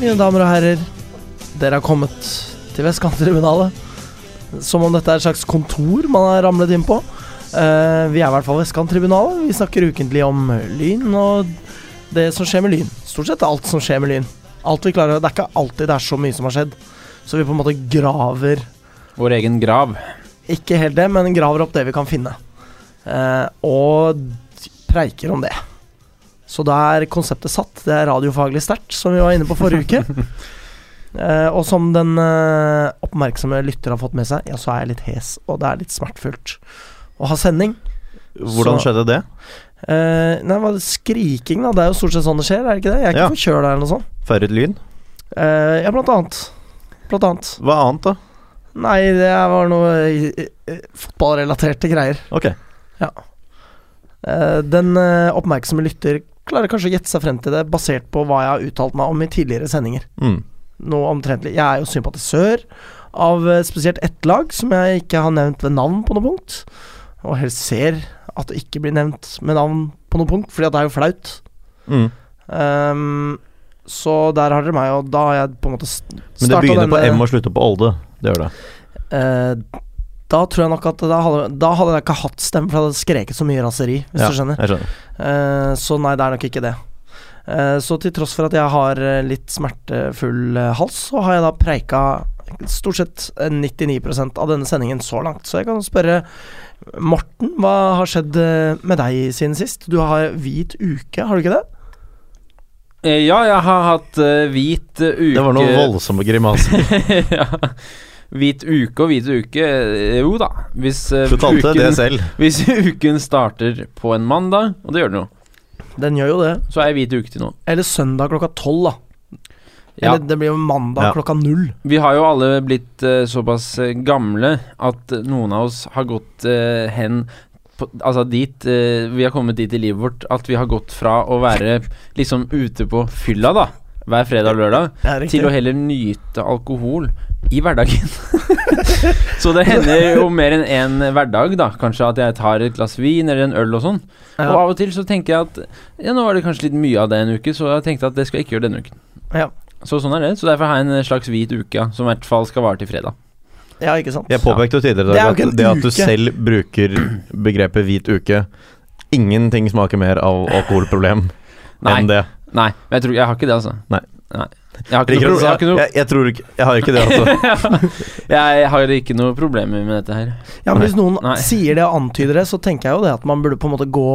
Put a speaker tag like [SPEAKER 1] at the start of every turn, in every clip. [SPEAKER 1] Mine damer og herrer, dere har kommet til Vestkanttribunalet. Som om dette er et slags kontor man har ramlet inn på. Eh, vi er i hvert fall Vestkanttribunalet. Vi snakker ukentlig om Lyn og det som skjer med Lyn. Stort sett alt som skjer med Lyn. Alt vi klarer, Det er ikke alltid det er så mye som har skjedd. Så vi på en måte graver
[SPEAKER 2] Vår egen grav.
[SPEAKER 1] ikke helt det, men graver opp det vi kan finne. Eh, og preiker om det. Så da er konseptet satt. Det er radiofaglig sterkt, som vi var inne på forrige uke. Eh, og som den eh, oppmerksomme lytter har fått med seg, ja, så er jeg litt hes, og det er litt smertefullt å ha sending.
[SPEAKER 3] Hvordan
[SPEAKER 1] Så-
[SPEAKER 3] skjedde det?
[SPEAKER 1] Eh, nei, hva, skriking, da. Det er jo stort sett sånn det skjer, er det ikke det? Jeg er ikke
[SPEAKER 3] Ja.
[SPEAKER 1] forkjøla eller noe sånt.
[SPEAKER 3] Feiret lyn?
[SPEAKER 1] Eh, ja, blant annet. Blant annet.
[SPEAKER 3] Hva annet, da?
[SPEAKER 1] Nei, det var noe eh, eh, fotballrelaterte greier.
[SPEAKER 3] Ok.
[SPEAKER 1] Eh, Den eh, oppmerksomme lytter klarer kanskje å gjette seg frem til det, basert på hva jeg har uttalt meg om i tidligere sendinger.
[SPEAKER 3] Mm.
[SPEAKER 1] Noe omtrentlig. Jeg er jo sympatisør av eh, spesielt ett lag, som jeg ikke har nevnt ved navn på noe punkt. Og helst ser at det ikke blir nevnt med navn på noe punkt, fordi at det er jo flaut.
[SPEAKER 3] Mm.
[SPEAKER 1] Ehm, så der har dere meg, og da har jeg på en måte starta
[SPEAKER 3] Men det begynner på M og slutter på Olde. Det gjør det.
[SPEAKER 1] eh, da tror jeg nok at da hadde, da hadde jeg ikke hatt stemme, for jeg hadde skreket så mye raseri, hvis
[SPEAKER 3] Ja,
[SPEAKER 1] du skjønner.
[SPEAKER 3] Jeg skjønner.
[SPEAKER 1] Eh, Så nei, det er nok ikke det. Eh, Så til tross for at jeg har eh, litt smertefull eh, hals, så har jeg da preika stort sett eh, 99 av denne sendingen så langt. Så jeg kan spørre Morten, hva har skjedd eh, med deg siden sist? Du har hvit uke, har du ikke det?
[SPEAKER 2] Eh, Ja, jeg har hatt eh, hvit eh, uke
[SPEAKER 3] Det var noen voldsomme grimaser.
[SPEAKER 2] ja. Hvit uke og hvit uke eh, Jo da. Hvis, eh,
[SPEAKER 3] Du talte det
[SPEAKER 2] uken,
[SPEAKER 3] selv.
[SPEAKER 2] hvis uken starter på en mandag, og det gjør den jo,
[SPEAKER 1] Den gjør jo det.
[SPEAKER 2] så er jeg hvit uke til nå.
[SPEAKER 1] Eller søndag klokka tolv, da.
[SPEAKER 2] Ja.
[SPEAKER 1] Eller det blir jo mandag
[SPEAKER 3] Ja.
[SPEAKER 1] klokka null.
[SPEAKER 2] Vi har jo alle blitt eh, såpass eh, gamle at eh, noen av oss har gått eh, hen på, Altså dit eh, Vi har kommet dit i livet vårt at vi har gått fra å være liksom ute på fylla, da, hver fredag og lørdag,
[SPEAKER 1] Ja, riktig.
[SPEAKER 2] til å heller nyte alkohol i hverdagen. så det hender jo mer enn én hverdag, da. Kanskje at jeg tar et glass vin eller en øl og sånn.
[SPEAKER 1] Ja.
[SPEAKER 2] Og av og til så tenker jeg at ja, nå var det kanskje litt mye av det en uke, så jeg tenkte at det skal jeg ikke gjøre denne uken.
[SPEAKER 1] Ja.
[SPEAKER 2] Så sånn er det. Så derfor har jeg en slags hvit uke, ja, som i hvert fall skal vare til fredag.
[SPEAKER 1] ja, ikke sant?
[SPEAKER 3] Jeg påpekte jo tidligere i
[SPEAKER 1] Det er jo
[SPEAKER 3] dag
[SPEAKER 1] ikke
[SPEAKER 3] at
[SPEAKER 1] en
[SPEAKER 3] det at du
[SPEAKER 1] uke.
[SPEAKER 3] selv bruker begrepet hvit uke Ingenting smaker mer av alkoholproblem
[SPEAKER 2] Nei,
[SPEAKER 3] enn det.
[SPEAKER 2] nei, men jeg, tror, jeg har ikke det, altså.
[SPEAKER 3] Nei.
[SPEAKER 2] Jeg har ikke
[SPEAKER 3] Ligger
[SPEAKER 2] noe, pro- jeg
[SPEAKER 3] og-
[SPEAKER 2] har ikke noe,
[SPEAKER 3] jeg, jeg tror ikke Jeg har ikke det, altså.
[SPEAKER 2] jeg har ikke noe problemer med dette her.
[SPEAKER 1] Ja, men Hvis noen
[SPEAKER 2] Nei.
[SPEAKER 1] sier det og antyder det, så tenker jeg jo det at man burde på en måte gå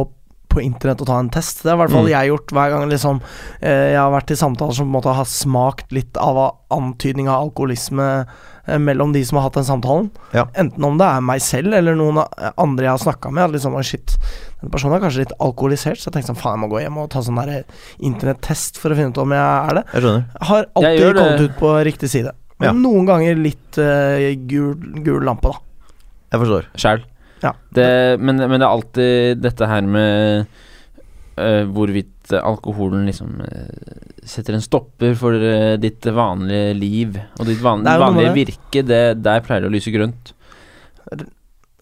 [SPEAKER 1] på internett og ta en test. Det har i hvert fall
[SPEAKER 3] Mm.
[SPEAKER 1] jeg gjort hver gang liksom, eh, jeg har vært i samtaler som på en måte har smakt litt av antydning av alkoholisme eh, mellom de som har hatt den samtalen.
[SPEAKER 3] Ja.
[SPEAKER 1] Enten om det er meg selv eller noen a- andre jeg har snakka med. At liksom, «Oi, shit, den personen er kanskje litt alkoholisert, så jeg tenkte sånn, faen, jeg må gå hjem og ta sånn der eh, internettest for å finne ut om jeg er det.
[SPEAKER 3] Jeg skjønner.
[SPEAKER 1] Har
[SPEAKER 2] gjør
[SPEAKER 1] alltid
[SPEAKER 2] det.
[SPEAKER 1] kommet ut på riktig side. Men
[SPEAKER 3] Ja.
[SPEAKER 1] noen ganger litt eh, gul, gul lampe, da.
[SPEAKER 3] Jeg forstår.
[SPEAKER 2] Sjæl.
[SPEAKER 1] Ja.
[SPEAKER 2] Det, men, men det er alltid dette her med eh, hvorvidt alkoholen liksom eh, setter en stopper for eh, ditt vanlige liv og ditt van
[SPEAKER 1] Det er jo noe med
[SPEAKER 2] vanlige virke. Det, der pleier det å lyse grønt.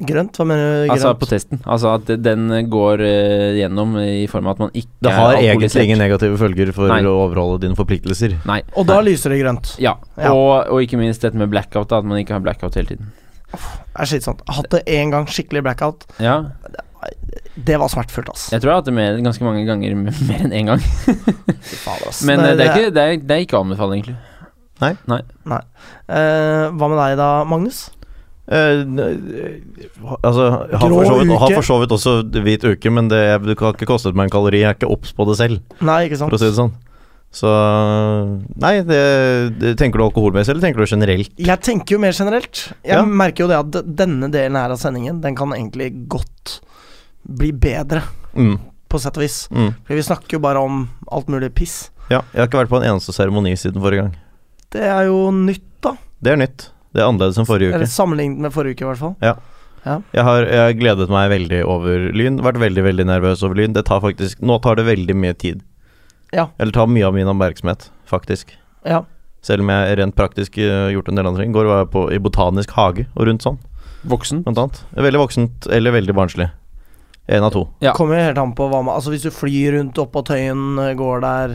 [SPEAKER 1] Grønt? Hva mener du? Grønt?
[SPEAKER 2] Altså på testen. Altså at den går eh, gjennom i form av at man ikke
[SPEAKER 3] Det har
[SPEAKER 2] er
[SPEAKER 3] egentlig
[SPEAKER 2] alkoholisert.
[SPEAKER 3] ingen negative følger for
[SPEAKER 2] Nei.
[SPEAKER 3] å overholde dine forpliktelser.
[SPEAKER 2] Nei.
[SPEAKER 1] Og da lyser det grønt.
[SPEAKER 2] Ja.
[SPEAKER 1] Ja.
[SPEAKER 2] Og, og ikke minst dette med blackout, da, at man ikke har blackout hele tiden.
[SPEAKER 1] Det er slitsomt. Hatt det én gang skikkelig blackout.
[SPEAKER 2] Ja.
[SPEAKER 1] Det var smertefullt, ass.
[SPEAKER 2] Jeg tror jeg har hatt det mer, ganske mange ganger, mer enn én gang.
[SPEAKER 1] Fy fader, ass.
[SPEAKER 2] Men eh, det, er
[SPEAKER 1] det-
[SPEAKER 2] ikke, det, er, det er ikke å anbefale, egentlig.
[SPEAKER 1] Eh, Hva med deg da, Magnus?
[SPEAKER 3] Eh, ne- altså, jeg har
[SPEAKER 1] Grå
[SPEAKER 3] for, så vidt, har
[SPEAKER 1] uke.
[SPEAKER 3] for så vidt også hvit uke, men det, jeg, det har ikke kostet meg en kalori. Jeg er ikke obs på det selv,
[SPEAKER 1] Nei, ikke sant?
[SPEAKER 3] for å si det sånn. Så Nei, det, det, tenker du alkoholmessig, eller tenker du generelt?
[SPEAKER 1] Jeg tenker jo mer generelt. Jeg
[SPEAKER 3] Ja.
[SPEAKER 1] merker jo det at d- denne delen her av sendingen, den kan egentlig godt bli bedre,
[SPEAKER 3] Mm,
[SPEAKER 1] på sett og vis.
[SPEAKER 3] mm.
[SPEAKER 1] For vi snakker jo bare om alt mulig piss.
[SPEAKER 3] Ja, jeg har ikke vært på en eneste seremoni siden forrige gang.
[SPEAKER 1] Det er jo nytt, da.
[SPEAKER 3] Det er nytt. Det er annerledes enn forrige
[SPEAKER 1] Eller
[SPEAKER 3] uke.
[SPEAKER 1] sammenlignet med forrige uke, i hvert fall.
[SPEAKER 3] Jeg har, jeg har gledet meg veldig over Lyn. Vært veldig veldig nervøs over Lyn. Det tar faktisk, nå tar det veldig mye tid.
[SPEAKER 1] Ja.
[SPEAKER 3] Eller tar mye av min oppmerksomhet, faktisk.
[SPEAKER 1] Ja.
[SPEAKER 3] Selv om jeg rent praktisk eh, gjort en del andre ting. I Går var jeg på, i botanisk hage og rundt sånn,
[SPEAKER 2] Voksen.
[SPEAKER 3] blant annet. Veldig voksent eller veldig barnslig. En av to.
[SPEAKER 2] Ja.
[SPEAKER 1] Kommer jo helt an på hva man Altså, hvis du flyr rundt oppå Tøyen, eh, går der,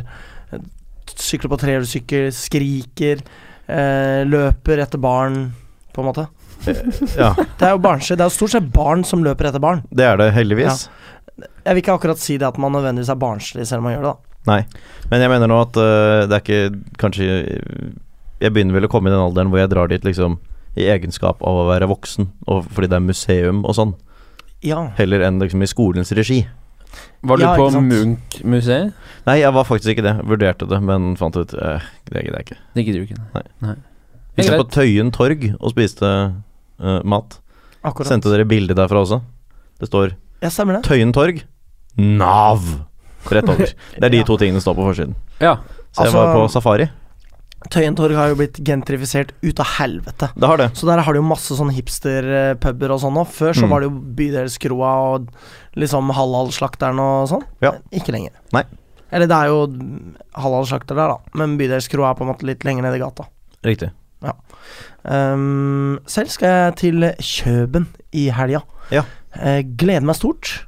[SPEAKER 1] eh, t- sykler på trehjulssykkel, skriker, eh, løper etter barn, på en måte.
[SPEAKER 3] Ja,
[SPEAKER 1] Det er jo barnslig. Det er jo stort sett barn som løper etter barn.
[SPEAKER 3] det er det heldigvis.
[SPEAKER 1] Jeg vil ikke akkurat si det at man nødvendigvis er barnslig selv om man gjør det, da.
[SPEAKER 3] Men jeg mener nå at øh, det er ikke Kanskje Jeg begynner vel å komme i den alderen hvor jeg drar dit liksom i egenskap av å være voksen, og fordi det er museum og sånn,
[SPEAKER 1] Ja.
[SPEAKER 3] heller enn liksom i skolens regi.
[SPEAKER 2] Var du
[SPEAKER 1] Ja,
[SPEAKER 2] på
[SPEAKER 1] ikke sant.
[SPEAKER 2] Munch-museet?
[SPEAKER 3] Nei, jeg var faktisk ikke det. Vurderte det, men fant ut eh, Det gidder jeg ikke.
[SPEAKER 2] Det gidder du ikke.
[SPEAKER 3] Nei.
[SPEAKER 2] Nei.
[SPEAKER 3] Vi
[SPEAKER 2] Det er
[SPEAKER 3] satt på
[SPEAKER 2] greit.
[SPEAKER 3] Tøyen torg og spiste eh, mat.
[SPEAKER 1] Akkurat.
[SPEAKER 3] Sendte dere bilde derfra også? Det står
[SPEAKER 1] Ja, stemmer det.
[SPEAKER 3] Tøyen torg, Nav. Rett over. Det er de to tingene som står på forsiden.
[SPEAKER 2] Ja.
[SPEAKER 3] Så
[SPEAKER 1] Altså-
[SPEAKER 3] jeg var på safari.
[SPEAKER 1] Tøyen torg har jo blitt gentrifisert ut av helvete.
[SPEAKER 3] Det har det.
[SPEAKER 1] Så der har du jo masse sånn hipsterpuber og sånn nå. Før så
[SPEAKER 3] Mm.
[SPEAKER 1] var det jo bydelskroa og liksom halalslakteren og sånn.
[SPEAKER 3] Ja.
[SPEAKER 1] Ikke lenger.
[SPEAKER 3] Nei.
[SPEAKER 1] Eller det er jo halalslakter der, da, men bydelskroa er på en måte litt lenger nede i gata.
[SPEAKER 3] Riktig.
[SPEAKER 1] Ehm, selv skal jeg til Kjøben i helga.
[SPEAKER 3] Ja.
[SPEAKER 1] Eh, gleder meg stort.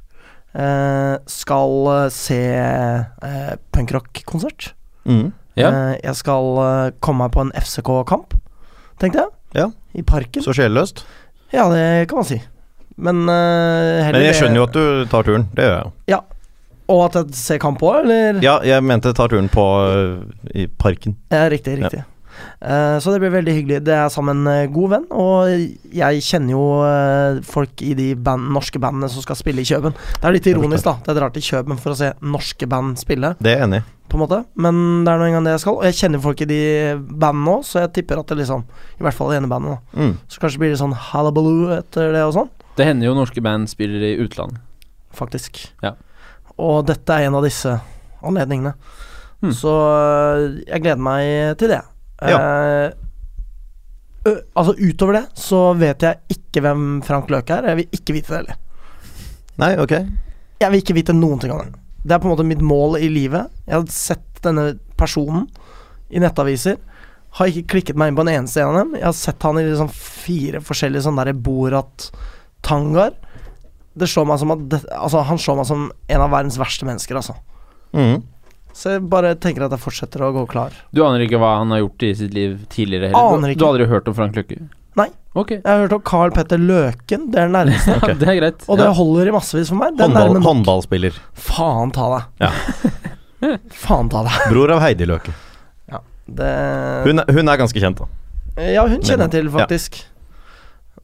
[SPEAKER 1] Eh, skal eh, se uh, punkrock-konsert.
[SPEAKER 3] Mm.
[SPEAKER 2] ja.
[SPEAKER 1] Eh, jeg skal eh, komme meg på en FCK-kamp, tenkte jeg.
[SPEAKER 3] Ja.
[SPEAKER 1] I parken.
[SPEAKER 3] Så sjelløst.
[SPEAKER 1] Ja, det kan man si. Men eh, heller
[SPEAKER 3] Men jeg skjønner jo at du tar turen. Det gjør jeg jo.
[SPEAKER 1] Og at jeg ser kamp òg, eller?
[SPEAKER 3] Ja, jeg mente tar turen på eh, i parken.
[SPEAKER 1] Ja, riktig, riktig. Eh, så det blir veldig hyggelig. Det er sammen en eh, god venn, og jeg kjenner jo eh, folk i de band, norske bandene som skal spille i Kjøben. Det er litt ironisk, da. at Jeg drar til Kjøben for å se norske band spille,
[SPEAKER 3] Det er jeg enig i.
[SPEAKER 1] på en måte. Men det er nå engang det jeg skal. Og jeg kjenner folk i de bandene òg, så jeg tipper at det liksom I hvert fall det ene bandet, da.
[SPEAKER 3] Mm.
[SPEAKER 1] Så kanskje blir det sånn hallabaloo etter det og sånn.
[SPEAKER 2] Det hender jo norske band spiller i utlandet.
[SPEAKER 1] faktisk.
[SPEAKER 2] Ja.
[SPEAKER 1] Og dette er en av disse anledningene.
[SPEAKER 2] Hmm.
[SPEAKER 1] Så øh, jeg gleder meg til det.
[SPEAKER 3] Ja.
[SPEAKER 1] Eh, ø, altså Utover det så vet jeg ikke hvem Frank Løke er. Jeg vil ikke vite det heller.
[SPEAKER 3] Nei, ok.
[SPEAKER 1] Jeg vil ikke vite noen ting om det. Det er på en måte mitt mål i livet. Jeg har sett denne personen i nettaviser. Har ikke klikket meg inn på en eneste en av dem. Jeg har sett han i liksom fire forskjellige sånne der Borat-tangaer. Det slår meg som at det, altså, Han slår meg som en av verdens verste mennesker, altså.
[SPEAKER 3] Mm.
[SPEAKER 1] Så jeg bare tenker at jeg fortsetter å gå klar.
[SPEAKER 2] Du aner ikke hva han har gjort i sitt liv tidligere heller?
[SPEAKER 1] Aner ikke.
[SPEAKER 2] Du har aldri hørt om Frank Løkke?
[SPEAKER 1] Nei.
[SPEAKER 2] Ok,
[SPEAKER 1] Jeg har hørt om Carl Petter Løken. Det er den nærmeste.
[SPEAKER 2] ja, det er greit.
[SPEAKER 1] Og det
[SPEAKER 2] ja.
[SPEAKER 1] holder i massevis for meg. Det er
[SPEAKER 3] Håndball,
[SPEAKER 1] nærme nok.
[SPEAKER 3] håndballspiller.
[SPEAKER 1] Faen ta deg. Faen ta deg.
[SPEAKER 3] Bror av Heidi Løke.
[SPEAKER 1] Det
[SPEAKER 3] Hun, er- hun er ganske kjent, da.
[SPEAKER 1] Ja, hun kjenner jeg til,
[SPEAKER 3] Ja.
[SPEAKER 1] faktisk.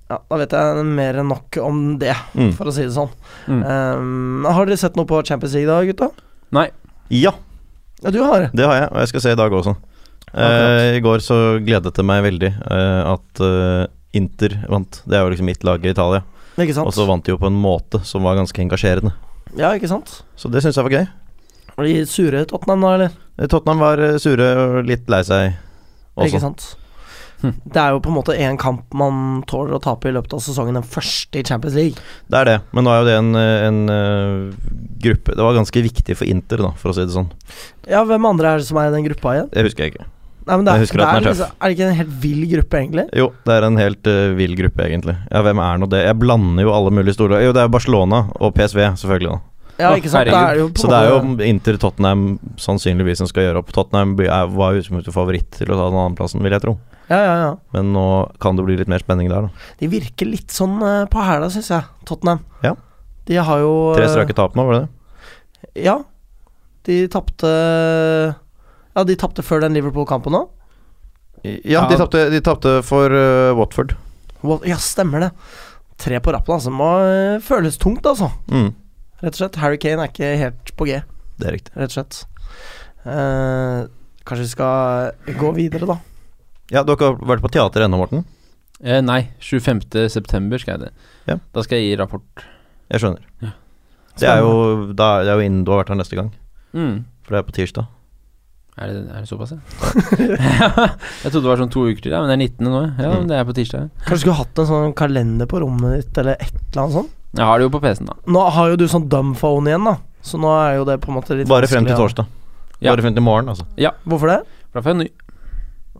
[SPEAKER 1] Ja, Da vet jeg mer enn nok om det,
[SPEAKER 3] Mm.
[SPEAKER 1] for å si det sånn.
[SPEAKER 2] Mm.
[SPEAKER 1] Um, har dere sett noe på Champions League da, gutta?
[SPEAKER 2] Nei.
[SPEAKER 3] Ja,
[SPEAKER 1] Ja, du har.
[SPEAKER 3] det har jeg, og jeg skal se i dag også.
[SPEAKER 1] Akkurat.
[SPEAKER 3] Eh, I går så gledet det meg veldig eh, at eh, Inter vant. Det er jo liksom mitt lag i Italia.
[SPEAKER 1] Ikke sant?
[SPEAKER 3] Og så vant de jo på en måte som var ganske engasjerende.
[SPEAKER 1] Ja, ikke sant?
[SPEAKER 3] Så det syns jeg var gøy.
[SPEAKER 1] Var de sure i Tottenham da, eller?
[SPEAKER 3] Eh, Tottenham var eh, sure og litt lei seg
[SPEAKER 1] Ikke
[SPEAKER 3] også.
[SPEAKER 1] sant?
[SPEAKER 2] Hm.
[SPEAKER 1] Det er jo på en måte én kamp man tåler å tape i løpet av sesongen, den første i Champions League.
[SPEAKER 3] Det er det, men nå er jo det en, eh, en eh, gruppe Det var ganske viktig for Inter, da, for å si det sånn.
[SPEAKER 1] Ja, hvem andre er det som er i den gruppa igjen?
[SPEAKER 3] Det husker jeg ikke.
[SPEAKER 1] Nei, men det er,
[SPEAKER 3] Jeg husker at den
[SPEAKER 1] det
[SPEAKER 3] er
[SPEAKER 1] er, liksom, er det ikke en helt vill gruppe, egentlig?
[SPEAKER 3] Jo, det er en helt eh, vill gruppe, egentlig. Ja, hvem er nå det? Jeg blander jo alle mulige store Jo, det er Barcelona og PSV, selvfølgelig. da
[SPEAKER 1] Ja,
[SPEAKER 2] Å,
[SPEAKER 1] ikke sant? Da
[SPEAKER 2] herregud.
[SPEAKER 1] er det jo på
[SPEAKER 3] Så
[SPEAKER 1] en
[SPEAKER 3] det er
[SPEAKER 1] måte
[SPEAKER 3] jo Inter Tottenham sannsynligvis som skal gjøre opp. Tottenham by- er- var jo utgangspunktet favoritt til å ta den andreplassen, vil jeg tro.
[SPEAKER 1] Ja, ja, ja.
[SPEAKER 3] Men nå kan det bli litt mer spenning der, da.
[SPEAKER 1] De virker litt sånn eh, på hæla, syns jeg, Tottenham.
[SPEAKER 3] Ja.
[SPEAKER 1] De har jo
[SPEAKER 3] Tre
[SPEAKER 1] eh,
[SPEAKER 3] strake tap nå, var det det?
[SPEAKER 1] Ja. De tapte Ja, de tapte før den Liverpool-kampen òg.
[SPEAKER 3] Ja,
[SPEAKER 2] de
[SPEAKER 3] de tapte, for eh, Watford.
[SPEAKER 1] Ja, stemmer det. Tre på rappen, altså. Må eh, føles tungt, altså.
[SPEAKER 3] Mm.
[SPEAKER 1] Rett og slett. Harry Kane er ikke helt på G,
[SPEAKER 3] Det er riktig.
[SPEAKER 1] rett og slett. Eh, kanskje vi skal gå videre, da.
[SPEAKER 3] Ja, dere har vært på teater ennå, Morten?
[SPEAKER 2] Eh, nei, 25. september skal jeg det.
[SPEAKER 3] Ja.
[SPEAKER 2] Da skal jeg gi rapport.
[SPEAKER 3] Jeg skjønner.
[SPEAKER 2] Ja.
[SPEAKER 3] Det er jo, da, det er jo innen du har vært her neste gang,
[SPEAKER 2] Mm.
[SPEAKER 3] for det er på tirsdag.
[SPEAKER 2] Er, det, er det såpass, ja? jeg trodde det var sånn to uker til, ja, men det er 19. nå. Ja,
[SPEAKER 3] Mm.
[SPEAKER 2] Det er på tirsdag.
[SPEAKER 1] Kanskje du skulle hatt en sånn kalender på rommet ditt, eller et eller annet sånt.
[SPEAKER 2] Jeg har det jo på PC-en, da.
[SPEAKER 1] Nå har jo du sånn dumbphone igjen, da. Så nå er jo det på en måte litt
[SPEAKER 3] Bare frem
[SPEAKER 1] vanskelig
[SPEAKER 3] til
[SPEAKER 1] å-
[SPEAKER 3] torsdag.
[SPEAKER 2] Ja.
[SPEAKER 3] Bare frem til i morgen, altså.
[SPEAKER 1] Hvorfor det?
[SPEAKER 2] For da får jeg en ny.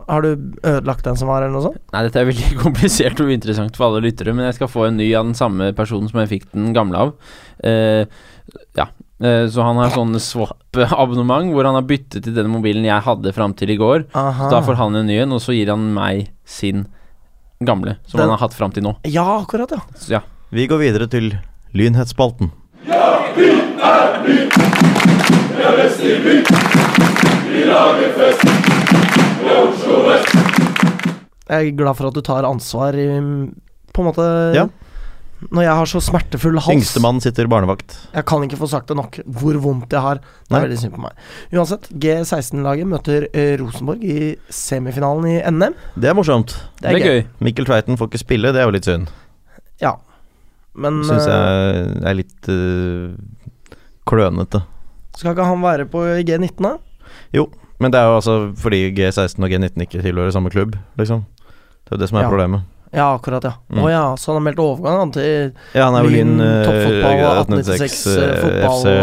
[SPEAKER 1] Har du ødelagt den som var, eller noe sånt?
[SPEAKER 2] Nei, dette er veldig komplisert og uinteressant for alle lyttere, men jeg skal få en ny av den samme personen som jeg fikk den gamle av. Eh, ja. Eh, Så han har sånn swap-abonnement hvor han har byttet til den mobilen jeg hadde fram til i går. Så
[SPEAKER 1] Aha.
[SPEAKER 3] Ah.
[SPEAKER 2] da får han en ny en, og så gir han meg sin gamle, som
[SPEAKER 1] Den-
[SPEAKER 2] han har hatt fram til nå.
[SPEAKER 1] Ja, akkurat, ja.
[SPEAKER 2] Så ja.
[SPEAKER 3] Vi går videre til Lynhetsspalten.
[SPEAKER 1] Jeg er glad for at du tar ansvar i På en måte
[SPEAKER 3] Ja.
[SPEAKER 1] Når jeg har så smertefull hals
[SPEAKER 3] Yngstemann sitter barnevakt.
[SPEAKER 1] Jeg kan ikke få sagt det nok hvor vondt jeg har. Det er
[SPEAKER 3] Nei.
[SPEAKER 1] veldig synd på meg. Uansett, G16-laget møter eh, Rosenborg i semifinalen i NM.
[SPEAKER 3] Det er morsomt.
[SPEAKER 2] Det er gøy.
[SPEAKER 3] Mikkel Tveiten får ikke spille, det er jo litt synd.
[SPEAKER 1] Men
[SPEAKER 3] Syns
[SPEAKER 1] eh,
[SPEAKER 3] jeg er litt eh, klønete.
[SPEAKER 1] skal ikke han være på G19, da?
[SPEAKER 3] Men det er jo altså fordi G16 og G19 ikke tilhører samme klubb, liksom. Det er jo det som er
[SPEAKER 1] Ja.
[SPEAKER 3] problemet.
[SPEAKER 1] Ja, akkurat, ja.
[SPEAKER 3] Mm.
[SPEAKER 1] Å ja, så han har meldt overgang han, til
[SPEAKER 3] Ja, han er jo Lyn
[SPEAKER 1] Lyn,
[SPEAKER 3] eh,
[SPEAKER 1] toppfotball,
[SPEAKER 3] eh,
[SPEAKER 1] 1896,
[SPEAKER 3] 1896, eh,
[SPEAKER 1] fotball,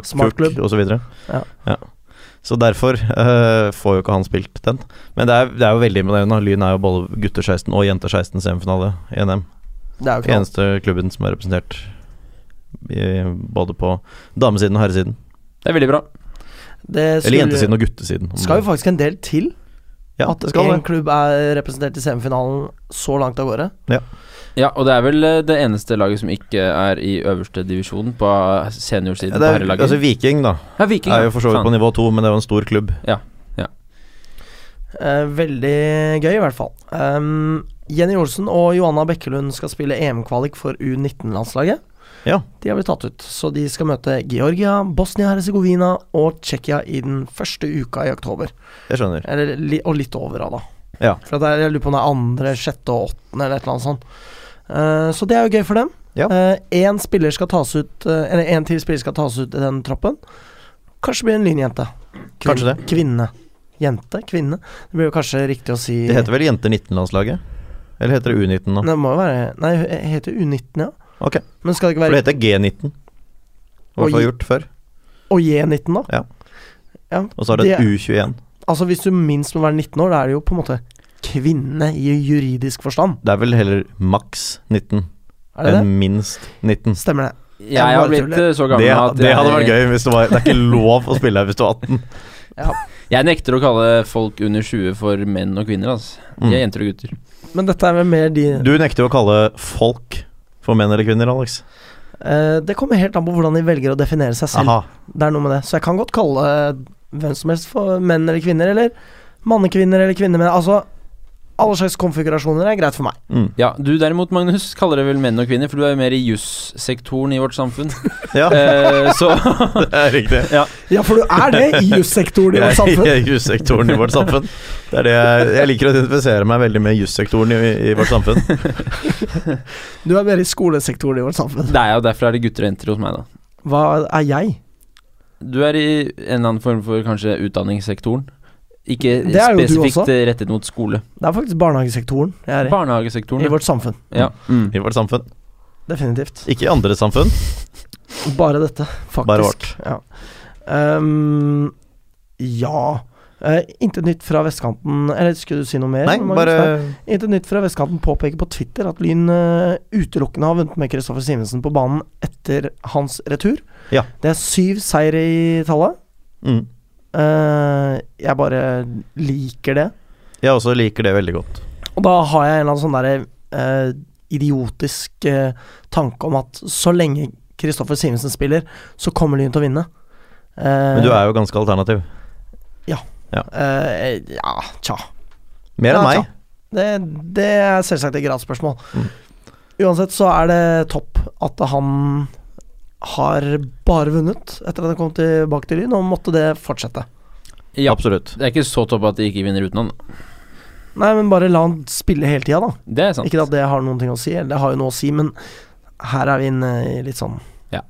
[SPEAKER 3] FC,
[SPEAKER 1] smartklubb.
[SPEAKER 3] lagklubb osv.
[SPEAKER 1] Ja.
[SPEAKER 3] Ja. Så derfor eh, får jo ikke han spilt den. Men det er, det er jo veldig imponerende. Lyn er jo både gutter 16 og jenter 16 semifinale i NM.
[SPEAKER 1] Det er jo ikke noe.
[SPEAKER 3] Eneste klubben som er representert i, både på damesiden og herresiden.
[SPEAKER 2] Det er veldig bra.
[SPEAKER 1] Det
[SPEAKER 3] Eller
[SPEAKER 1] skulle-
[SPEAKER 3] jentesiden og guttesiden. om
[SPEAKER 1] skal
[SPEAKER 3] det-
[SPEAKER 1] jo faktisk en del til.
[SPEAKER 3] ja,
[SPEAKER 1] at
[SPEAKER 3] det skal
[SPEAKER 1] en
[SPEAKER 3] det.
[SPEAKER 1] klubb er representert i semifinalen så langt av gårde.
[SPEAKER 2] Ja, og det er vel eh, det eneste laget som ikke er i øverste divisjon på eh, seniorsiden
[SPEAKER 3] Ja,
[SPEAKER 2] på
[SPEAKER 3] det er,
[SPEAKER 2] herrelaget.
[SPEAKER 3] altså Viking, da.
[SPEAKER 2] ja, Viking.
[SPEAKER 3] er
[SPEAKER 2] ja.
[SPEAKER 3] jo for så vidt
[SPEAKER 2] Faen.
[SPEAKER 3] på nivå to, men det er jo en stor klubb.
[SPEAKER 1] Eh, veldig gøy, i hvert fall. Ehm, Jenny Olsen og Johanna Bekkelund skal spille EM-kvalik for U19-landslaget.
[SPEAKER 3] Ja.
[SPEAKER 1] De har blitt tatt ut, så de skal møte Georgia, Bosnia-Hercegovina og Tsjekkia i den første uka i oktober.
[SPEAKER 3] Jeg skjønner.
[SPEAKER 1] Eller, li- og litt over, da.
[SPEAKER 3] Ja.
[SPEAKER 1] For at det er- jeg lurer på om det er andre, sjette og åttende, eller et eller annet sånt. Eh, så det er jo gøy for dem.
[SPEAKER 3] Ja.
[SPEAKER 1] Én spiller skal tas ut eh, Eller en til spiller skal tas ut i den troppen. Kanskje blir en lynjente. Kvin-
[SPEAKER 3] Kanskje det.
[SPEAKER 1] Kvinne. Jente? Kvinne? Det blir jo kanskje riktig å si
[SPEAKER 3] Det heter vel Jenter 19-landslaget? Eller heter det U19 nå?
[SPEAKER 1] Nei, det må jo være Nei, det heter U19, ja.
[SPEAKER 3] Ok,
[SPEAKER 1] Men skal det ikke
[SPEAKER 3] For det
[SPEAKER 1] være
[SPEAKER 3] heter G19. I
[SPEAKER 1] Og
[SPEAKER 3] hvert fall
[SPEAKER 1] gi-
[SPEAKER 3] gjort før.
[SPEAKER 1] Og J19, da?
[SPEAKER 3] Ja.
[SPEAKER 1] Ja,
[SPEAKER 3] Og så er det,
[SPEAKER 1] det-
[SPEAKER 3] U21.
[SPEAKER 1] Altså, hvis du minst må være 19 år, da er det jo på en måte kvinne i juridisk forstand.
[SPEAKER 3] Det er vel heller maks 19
[SPEAKER 1] Er det det?
[SPEAKER 3] enn minst 19.
[SPEAKER 1] Stemmer det.
[SPEAKER 2] Jeg
[SPEAKER 1] bare
[SPEAKER 2] har blitt
[SPEAKER 1] tuller.
[SPEAKER 2] eh, så
[SPEAKER 3] Det,
[SPEAKER 2] gammel at
[SPEAKER 3] det
[SPEAKER 2] jeg-
[SPEAKER 3] hadde vært gøy hvis det var Det er ikke lov å spille her hvis du er 18.
[SPEAKER 2] Jeg nekter å kalle folk under 20 for menn og kvinner, altså. De er
[SPEAKER 3] Mm.
[SPEAKER 2] jenter og gutter.
[SPEAKER 1] Men dette er vel mer de
[SPEAKER 3] Du nekter jo å kalle folk for menn eller kvinner, Alex.
[SPEAKER 1] Eh, Det kommer helt an på hvordan de velger å definere seg selv.
[SPEAKER 3] Aha.
[SPEAKER 1] Det er noe med det. Så jeg kan godt kalle eh, hvem som helst for menn eller kvinner, eller mannekvinner eller kvinnemenn. Altså, alle slags konfigurasjoner er greit for meg.
[SPEAKER 3] Mm.
[SPEAKER 2] Ja, du derimot, Magnus, kaller det vel menn og kvinner, for du er jo mer i jussektoren i vårt samfunn.
[SPEAKER 3] Ja,
[SPEAKER 2] Eh, så
[SPEAKER 3] det er riktig.
[SPEAKER 1] Ja, for du er det i jussektoren i vårt
[SPEAKER 3] Jeg
[SPEAKER 1] samfunn.
[SPEAKER 3] er i jussektoren i vårt samfunn. Det er det jeg, jeg liker å identifisere meg veldig med jussektoren i, i vårt samfunn.
[SPEAKER 1] Du er mer i skolesektoren i vårt samfunn.
[SPEAKER 2] det er jo derfor er det gutter og jenter hos meg, da.
[SPEAKER 1] Hva er jeg?
[SPEAKER 2] Du er i en eller annen form for kanskje utdanningssektoren. Ikke
[SPEAKER 1] Det er jo du
[SPEAKER 2] spesifikt
[SPEAKER 1] også.
[SPEAKER 2] eh, rettet mot skole.
[SPEAKER 1] Det er faktisk barnehagesektoren jeg er i. I
[SPEAKER 2] Barnehagesektoren.
[SPEAKER 1] vårt samfunn.
[SPEAKER 2] Ja. Mm.
[SPEAKER 3] I vårt samfunn.
[SPEAKER 1] Definitivt.
[SPEAKER 3] Ikke i andre samfunn,
[SPEAKER 1] Bare dette, faktisk.
[SPEAKER 3] bare vårt.
[SPEAKER 1] Ja. Ehm, ja. Eh, intet nytt fra vestkanten Eller skulle du si noe mer?
[SPEAKER 3] Nei,
[SPEAKER 1] Magnus?
[SPEAKER 3] bare
[SPEAKER 1] Nei. Intet nytt fra vestkanten påpeker på Twitter at Lyn eh, utelukkende har vunnet med Kristoffer Simensen på banen etter hans retur.
[SPEAKER 3] Ja.
[SPEAKER 1] Det er syv seire i tallet.
[SPEAKER 3] mm.
[SPEAKER 1] Eh, jeg bare liker det.
[SPEAKER 3] Jeg også liker det veldig godt.
[SPEAKER 1] Og da har jeg en eller annen sånn derre eh, idiotisk eh, tanke om at så lenge Kristoffer Simensen spiller, så kommer Lyn til å vinne. Eh,
[SPEAKER 3] Men du er jo ganske alternativ.
[SPEAKER 1] eh, Ja, tja.
[SPEAKER 3] Mer
[SPEAKER 1] Ja,
[SPEAKER 3] enn
[SPEAKER 1] tja.
[SPEAKER 3] meg.
[SPEAKER 1] Det, det er selvsagt et gradsspørsmål.
[SPEAKER 3] Mm.
[SPEAKER 1] Uansett så er det topp at han har bare vunnet etter at han kom tilbake til Lyn, og måtte det fortsette.
[SPEAKER 2] Ja.
[SPEAKER 3] Absolutt.
[SPEAKER 2] Det er ikke så topp at de ikke vinner uten han. da.
[SPEAKER 1] Nei, men bare la han spille hele tida, da.
[SPEAKER 2] Det er sant.
[SPEAKER 1] Ikke at det har noen ting å si, eller det har jo noe å si, men her er vi inne i litt sånn
[SPEAKER 2] Ja.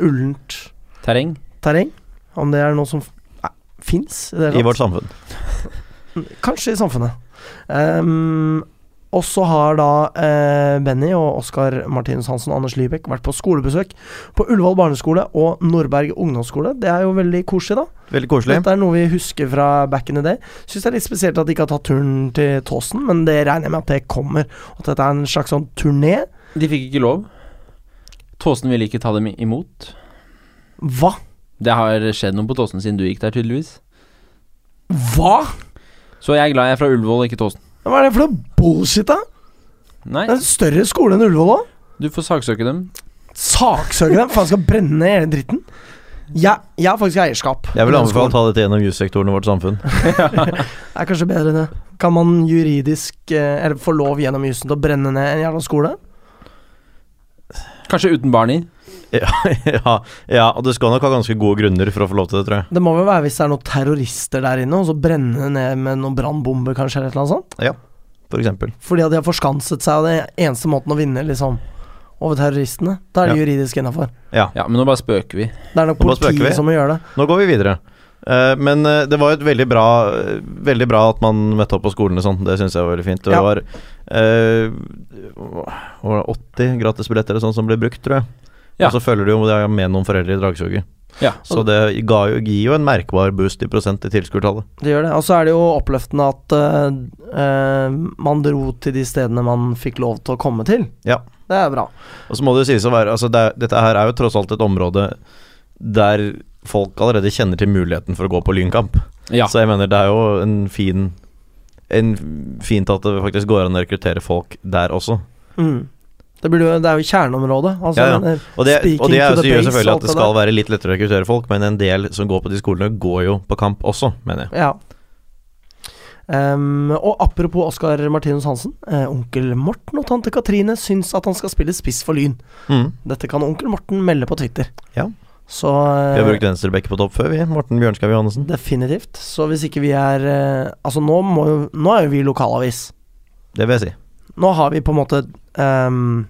[SPEAKER 1] ullent
[SPEAKER 2] Terreng.
[SPEAKER 1] terreng. Om det er noe som fins
[SPEAKER 3] I vårt samfunn.
[SPEAKER 1] Kanskje i samfunnet. Ehm, og så har da eh, Benny og Oskar Martinus Hansen og Anders Lybekk vært på skolebesøk på Ullevål barneskole og Nordberg ungdomsskole. Det er jo veldig koselig, da.
[SPEAKER 3] Veldig koselig.
[SPEAKER 1] Dette er noe vi husker fra back in the day. Syns det er litt spesielt at de ikke har tatt turen til Tåsen, men det regner jeg med at det kommer. At dette er en slags sånn turné.
[SPEAKER 2] De fikk ikke lov. Tåsen ville ikke ta dem i- imot.
[SPEAKER 1] Hva?
[SPEAKER 2] Det har skjedd noe på Tåsen siden du gikk der, tydeligvis.
[SPEAKER 1] Hva?
[SPEAKER 2] Så jeg er glad jeg er fra Ullevål, ikke Tåsen.
[SPEAKER 1] Hva er det for noe bullshit, da?
[SPEAKER 2] Nei,
[SPEAKER 1] Det er en større skole enn Ullevål òg.
[SPEAKER 2] du får saksøke dem.
[SPEAKER 1] Saksøke dem? Faen, skal brenne ned hele dritten? Jeg, jeg har faktisk eierskap.
[SPEAKER 3] Jeg vil
[SPEAKER 1] i den
[SPEAKER 3] anbefale
[SPEAKER 1] skolen.
[SPEAKER 3] å ta dette gjennom jussektoren i vårt samfunn.
[SPEAKER 1] Det er kanskje bedre enn det. Kan man juridisk eh, Eller få lov gjennom jussen til å brenne ned en jævla skole?
[SPEAKER 2] Kanskje uten barn i.
[SPEAKER 3] Ja, ja, ja, og du skal nok ha ganske gode grunner for å få lov til det, tror jeg.
[SPEAKER 1] Det må vel være hvis det er noen terrorister der inne, og så brenne det ned med noen brannbomber, kanskje, eller et eller annet sånt?
[SPEAKER 3] For eksempel.
[SPEAKER 1] Fordi at de har forskanset seg, og det er eneste måten å vinne, liksom, over terroristene. Da er det
[SPEAKER 3] Ja.
[SPEAKER 1] juridisk innafor.
[SPEAKER 2] Ja, men nå bare spøker vi.
[SPEAKER 1] Det er nok
[SPEAKER 3] Nå bare spøker vi.
[SPEAKER 1] politiet som må gjøre det.
[SPEAKER 3] Nå går vi videre. Eh, men eh, det var jo et veldig bra eh, Veldig bra at man møtte opp på skolen og sånn. Det syns jeg var veldig fint. Og
[SPEAKER 1] Ja.
[SPEAKER 3] Det var eh, hva var det, 80 gratisbilletter eller sånn som ble brukt, tror jeg.
[SPEAKER 2] Ja.
[SPEAKER 3] Og så følger du jo det med noen foreldre i dragsuget.
[SPEAKER 2] Ja.
[SPEAKER 3] Så det ga jo, gir jo en merkbar boost i prosent i tilskuertallet.
[SPEAKER 1] Det gjør det. Og så er det jo oppløftende at eh, eh, man dro til de stedene man fikk lov til å komme til.
[SPEAKER 3] Ja.
[SPEAKER 1] Det er bra.
[SPEAKER 3] Og så må det jo sies å være altså det, er- Dette her er jo tross alt et område der folk allerede kjenner til muligheten for å gå på lynkamp.
[SPEAKER 2] Ja.
[SPEAKER 3] Så jeg mener det er jo en fin en Fint at det faktisk går an å rekruttere folk der også.
[SPEAKER 1] Mm. Det, blir jo, det er jo kjerneområdet. Altså,
[SPEAKER 3] Ja, ja.
[SPEAKER 1] jeg mener,
[SPEAKER 3] Og det, og
[SPEAKER 1] Speaking
[SPEAKER 3] det
[SPEAKER 1] to
[SPEAKER 3] er,
[SPEAKER 1] the
[SPEAKER 3] så gjør
[SPEAKER 1] base,
[SPEAKER 3] selvfølgelig
[SPEAKER 1] alt
[SPEAKER 3] at det
[SPEAKER 1] det
[SPEAKER 3] skal være litt lettere å rekruttere folk, men en del som går på de skolene, går jo på kamp også, mener jeg.
[SPEAKER 1] Ja. Ehm, og apropos Oskar Martinus Hansen. eh, onkel Morten og tante Katrine syns at han skal spille spiss for Lyn.
[SPEAKER 3] Mm.
[SPEAKER 1] Dette kan onkel Morten melde på Twitter.
[SPEAKER 3] Ja.
[SPEAKER 1] Så
[SPEAKER 3] Vi
[SPEAKER 1] eh,
[SPEAKER 3] har brukt venstrebekke på topp før, vi. Morten Bjørnskau Johannessen.
[SPEAKER 1] definitivt. Så hvis ikke vi er eh, Altså, nå, må jo, nå er jo vi lokalavis.
[SPEAKER 3] Det vil jeg si.
[SPEAKER 1] Nå har vi på en måte ehm,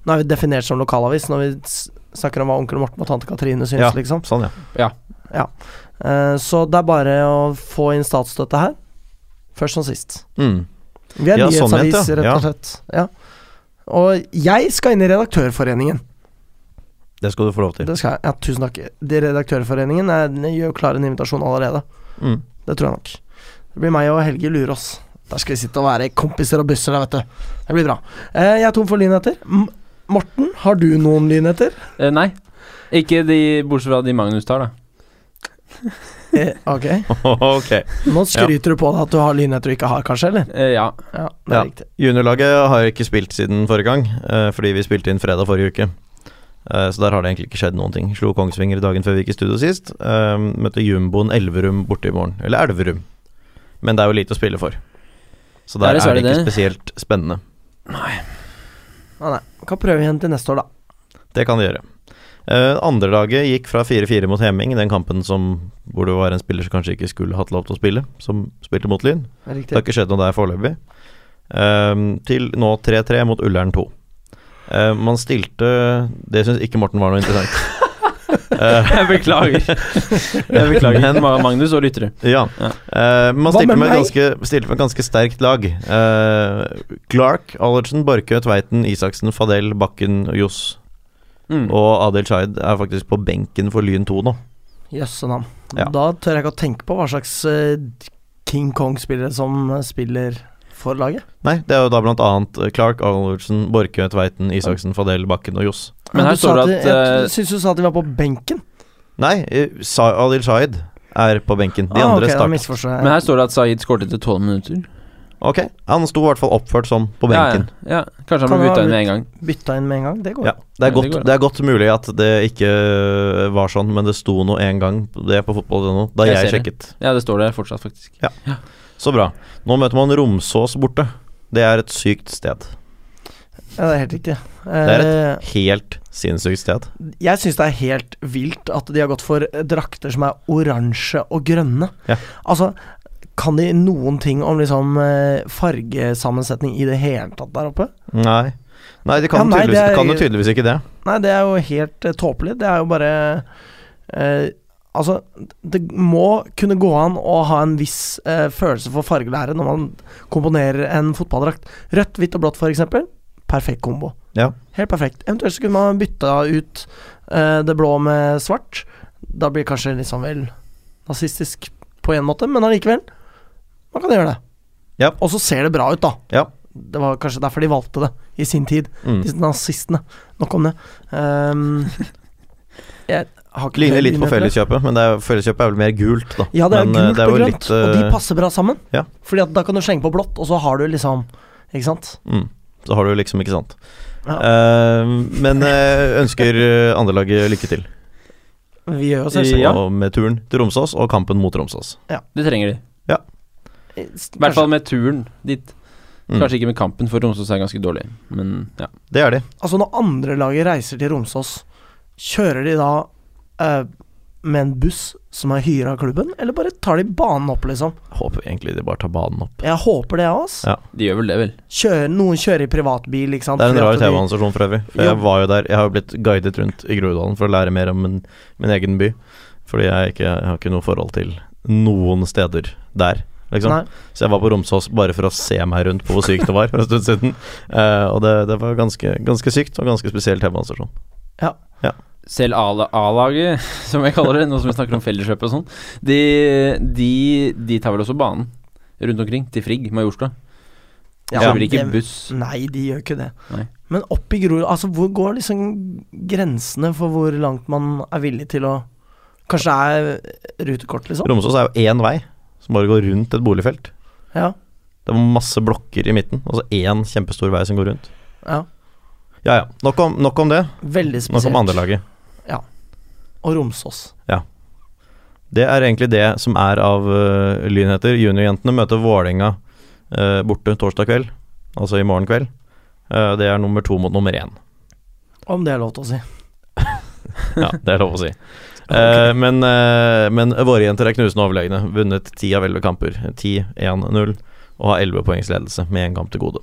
[SPEAKER 1] Nå er vi definert som lokalavis når vi s- snakker om hva onkel Morten og tante Katrine syns,
[SPEAKER 3] Ja.
[SPEAKER 1] liksom.
[SPEAKER 3] Sånn, ja.
[SPEAKER 1] Eh, så det er bare å få inn statsstøtte her. Først som sist.
[SPEAKER 3] Mm.
[SPEAKER 1] Vi er
[SPEAKER 3] Ja, sånn
[SPEAKER 1] nyhetsavis,
[SPEAKER 3] ment, ja.
[SPEAKER 1] rett og slett. Ja. Og jeg skal inn i Redaktørforeningen.
[SPEAKER 3] Det skal du få lov til.
[SPEAKER 1] Det skal jeg. Ja, tusen takk. De Redaktørforeningen er, jeg gjør jo klar en invitasjon allerede.
[SPEAKER 3] Mm.
[SPEAKER 1] Det tror jeg nok. Det blir meg og Helge Lurås. Der skal vi sitte og være kompiser og busser, der, vet du. Det blir bra. Eh, jeg er tom for lynheter. M Morten, har du noen lynheter?
[SPEAKER 2] Eh, nei. Ikke de, bortsett fra de Magnus tar, da.
[SPEAKER 1] Eh, ok.
[SPEAKER 3] ok.
[SPEAKER 1] Nå skryter du på deg at du har lynheter du ikke har, kanskje, eller?
[SPEAKER 2] Eh, ja.
[SPEAKER 1] Ja, det er
[SPEAKER 3] Ja.
[SPEAKER 1] riktig.
[SPEAKER 3] Juniorlaget har ikke spilt siden forrige gang, eh, fordi vi spilte inn fredag forrige uke. Eh, så der har det egentlig ikke skjedd noen ting. Slo Kongsvinger dagen før vi gikk i studio sist. Eh, møtte jumboen Elverum borte i morgen. Eller Elverum. Men det er jo lite å spille for. Så
[SPEAKER 2] Det er
[SPEAKER 3] der er
[SPEAKER 2] dessverre
[SPEAKER 3] det ikke
[SPEAKER 2] det.
[SPEAKER 3] spesielt spennende.
[SPEAKER 1] Ah, nei. Vi kan prøve igjen til neste år, da.
[SPEAKER 3] Det kan det gjøre. Uh, Andrelaget gikk fra 4-4 mot Hemming, den kampen som hvor det var en spiller som kanskje ikke skulle hatt lov til å spille, som spilte mot Lyn.
[SPEAKER 1] Det er
[SPEAKER 3] Det har
[SPEAKER 1] Riktig.
[SPEAKER 3] ikke skjedd noe der foreløpig. Ehm, til nå 3-3 mot Ullern 2. Ehm, man stilte Det syns ikke Morten var noe interessant. Eh,
[SPEAKER 2] Jeg beklager. Jeg beklager.
[SPEAKER 3] Men-
[SPEAKER 2] Ma- Magnus og lyttere.
[SPEAKER 3] ja.
[SPEAKER 2] Ja.
[SPEAKER 3] Ehm, man
[SPEAKER 1] Hva
[SPEAKER 3] stilte
[SPEAKER 1] med
[SPEAKER 3] med,
[SPEAKER 1] meg?
[SPEAKER 3] et ganske, stilte med et ganske sterkt lag. Eh, Clark, Allertsen, Borchø, Tveiten, Isaksen, Fadel, Bakken, Johs
[SPEAKER 2] Mm.
[SPEAKER 3] og Adil Shaid er faktisk på benken for Lyn 2 nå.
[SPEAKER 1] Jøssenavn.
[SPEAKER 3] Ja.
[SPEAKER 1] Da tør jeg ikke å tenke på hva slags eh, King Kong-spillere som eh, spiller for laget.
[SPEAKER 3] Nei, det er jo da blant annet Clark, Allertsen, Borchø, Tveiten, Isaksen, Fadel, Bakken og Johs.
[SPEAKER 2] Men her
[SPEAKER 1] du sa
[SPEAKER 2] står det
[SPEAKER 1] at
[SPEAKER 2] at
[SPEAKER 1] de-
[SPEAKER 2] eh,
[SPEAKER 1] Jeg syns du sa at de var på benken.
[SPEAKER 3] Nei, eh, Sa- Adil Shaid er på benken. De
[SPEAKER 1] Ah,
[SPEAKER 3] andre
[SPEAKER 1] ok, da
[SPEAKER 3] starter
[SPEAKER 1] misforstår jeg.
[SPEAKER 2] Men her står det at Zaid skåret etter tolv minutter.
[SPEAKER 3] Ok, han sto i hvert fall oppført som på benken.
[SPEAKER 2] Ja, ja. ja. Kanskje han
[SPEAKER 1] Kan
[SPEAKER 2] ble
[SPEAKER 1] ha
[SPEAKER 2] bytta inn
[SPEAKER 1] blitt-
[SPEAKER 2] med en gang.
[SPEAKER 1] Bytta inn med en gang, det
[SPEAKER 3] Ja,
[SPEAKER 1] går.
[SPEAKER 3] det, er
[SPEAKER 2] Ja, det
[SPEAKER 3] godt,
[SPEAKER 2] går, ja.
[SPEAKER 3] det er godt mulig at det ikke var sånn, men det sto nå en gang det på fotball.no da
[SPEAKER 2] Jeg
[SPEAKER 3] jeg,
[SPEAKER 2] ser det.
[SPEAKER 3] sjekket.
[SPEAKER 2] Ja, det står der fortsatt, faktisk.
[SPEAKER 3] Så bra. Nå møter man Romsås borte. Det er et sykt sted.
[SPEAKER 1] Ja, det er helt riktig.
[SPEAKER 3] er
[SPEAKER 1] Eh,
[SPEAKER 3] Helt sinnssykt sted.
[SPEAKER 1] jeg syns det er helt vilt at de har gått for eh, drakter som er oransje og grønne.
[SPEAKER 3] Ja.
[SPEAKER 1] Altså, kan de noen ting om liksom eh, fargesammensetning i det hele tatt der oppe?
[SPEAKER 3] Nei. Nei, de kan,
[SPEAKER 1] Ja, nei, det
[SPEAKER 3] tydeligvis,
[SPEAKER 1] er-
[SPEAKER 3] kan jo tydeligvis ikke det.
[SPEAKER 1] Nei, det er jo helt eh, tåpelig. Det er jo bare eh, Altså, det må kunne gå an å ha en viss eh, følelse for fargelære når man komponerer en fotballdrakt. Rødt, hvitt og blått, f.eks. Perfekt kombo.
[SPEAKER 3] Ja.
[SPEAKER 1] Helt perfekt. Eventuelt så kunne man bytta ut eh, det blå med svart. Da blir det kanskje litt sånn vel nazistisk på en måte, men allikevel. Man kan gjøre det.
[SPEAKER 3] Ja.
[SPEAKER 1] Og så ser det bra ut, da.
[SPEAKER 3] Ja.
[SPEAKER 1] Det var kanskje derfor de valgte det i sin tid
[SPEAKER 3] Mm.
[SPEAKER 1] disse nazistene. Nok om det. Ehm, jeg, har ikke
[SPEAKER 3] Ligner
[SPEAKER 1] Freddy
[SPEAKER 3] litt på
[SPEAKER 1] med på det.
[SPEAKER 3] Felleskjøpet, men det er, Felleskjøpet er vel mer gult, da.
[SPEAKER 1] Ja, det er
[SPEAKER 3] men, eh,
[SPEAKER 1] gult
[SPEAKER 3] det er
[SPEAKER 1] og
[SPEAKER 3] jo
[SPEAKER 1] grønt,
[SPEAKER 3] litt, eh,
[SPEAKER 1] og de passer bra sammen.
[SPEAKER 3] ja.
[SPEAKER 1] Fordi at da kan du slenge på blått, og så har du liksom Ikke sant?
[SPEAKER 3] mm, så har du liksom, ikke sant.
[SPEAKER 1] Ja,
[SPEAKER 3] Eh, men eh, ønsker eh, andrelaget lykke til.
[SPEAKER 1] vi gjør jo
[SPEAKER 2] i-
[SPEAKER 1] selvsagt
[SPEAKER 2] Ja.
[SPEAKER 3] Og med turen til Romsås og kampen mot Romsås.
[SPEAKER 2] Det trenger de.
[SPEAKER 1] I
[SPEAKER 2] I hvert fall med turen dit.
[SPEAKER 3] Mm.
[SPEAKER 2] Kanskje ikke med kampen, for Romsås er ganske dårlig. Men ja.
[SPEAKER 3] Det er de.
[SPEAKER 1] Altså, når andrelaget reiser til Romsås, kjører de da eh, med en buss som er hyra av klubben, eller bare tar de banen opp, liksom?
[SPEAKER 3] Håper egentlig de bare tar banen opp.
[SPEAKER 1] Jeg håper det, jeg, ass.
[SPEAKER 3] Ja.
[SPEAKER 2] De gjør vel det, vel.
[SPEAKER 1] Kjører, noen kjører i privatbil, ikke sant?
[SPEAKER 3] Det er en
[SPEAKER 1] fordi
[SPEAKER 3] rar
[SPEAKER 1] at de-
[SPEAKER 3] TV-organisasjon for øvrig. For
[SPEAKER 1] Ja.
[SPEAKER 3] jeg var jo der. Jeg har jo blitt guidet rundt i Groruddalen for å lære mer om min, min egen by. Fordi jeg, ikke, jeg har ikke noe forhold til noen steder der. Liksom.
[SPEAKER 1] Nei.
[SPEAKER 3] Så jeg var på Romsås bare for å se meg rundt på hvor sykt det var for en stund siden. Eh, og det, det var ganske, ganske sykt og ganske spesiell TV-organisasjon.
[SPEAKER 2] Selv A- A-laget, som jeg kaller det, nå som vi snakker om felleskjøp og sånn, de, de, de tar vel også banen rundt omkring, til Frigg, Majorstua. De
[SPEAKER 1] Ja,
[SPEAKER 2] kjører ikke
[SPEAKER 1] det-
[SPEAKER 2] buss.
[SPEAKER 1] Nei, de gjør ikke det.
[SPEAKER 2] Nei.
[SPEAKER 1] Men opp i Grorud Altså, hvor går liksom grensene for hvor langt man er villig til å Kanskje det er rutekort, liksom?
[SPEAKER 3] Romsås er jo én vei som bare går rundt et boligfelt.
[SPEAKER 1] Ja.
[SPEAKER 3] Det var masse blokker i midten, og så én kjempestor vei som går rundt.
[SPEAKER 1] ja.
[SPEAKER 3] Ja ja, nok om, nok om det.
[SPEAKER 1] Veldig
[SPEAKER 3] Nok om
[SPEAKER 1] spesielt.
[SPEAKER 3] andrelaget.
[SPEAKER 1] Og Romsås.
[SPEAKER 3] Det er egentlig det som er av uh, lynheter. Juniorjentene møter Vålerenga eh, borte torsdag kveld, altså i morgen kveld. Eh, det er nummer to mot nummer én.
[SPEAKER 1] Om det er lov til å si.
[SPEAKER 3] Ja, det er lov å si. Eh, men, eh, men våre jenter er knusende overlegne. Vunnet ti av elleve kamper. 10-1-0. Og har elleve poengs ledelse med én kamp til gode.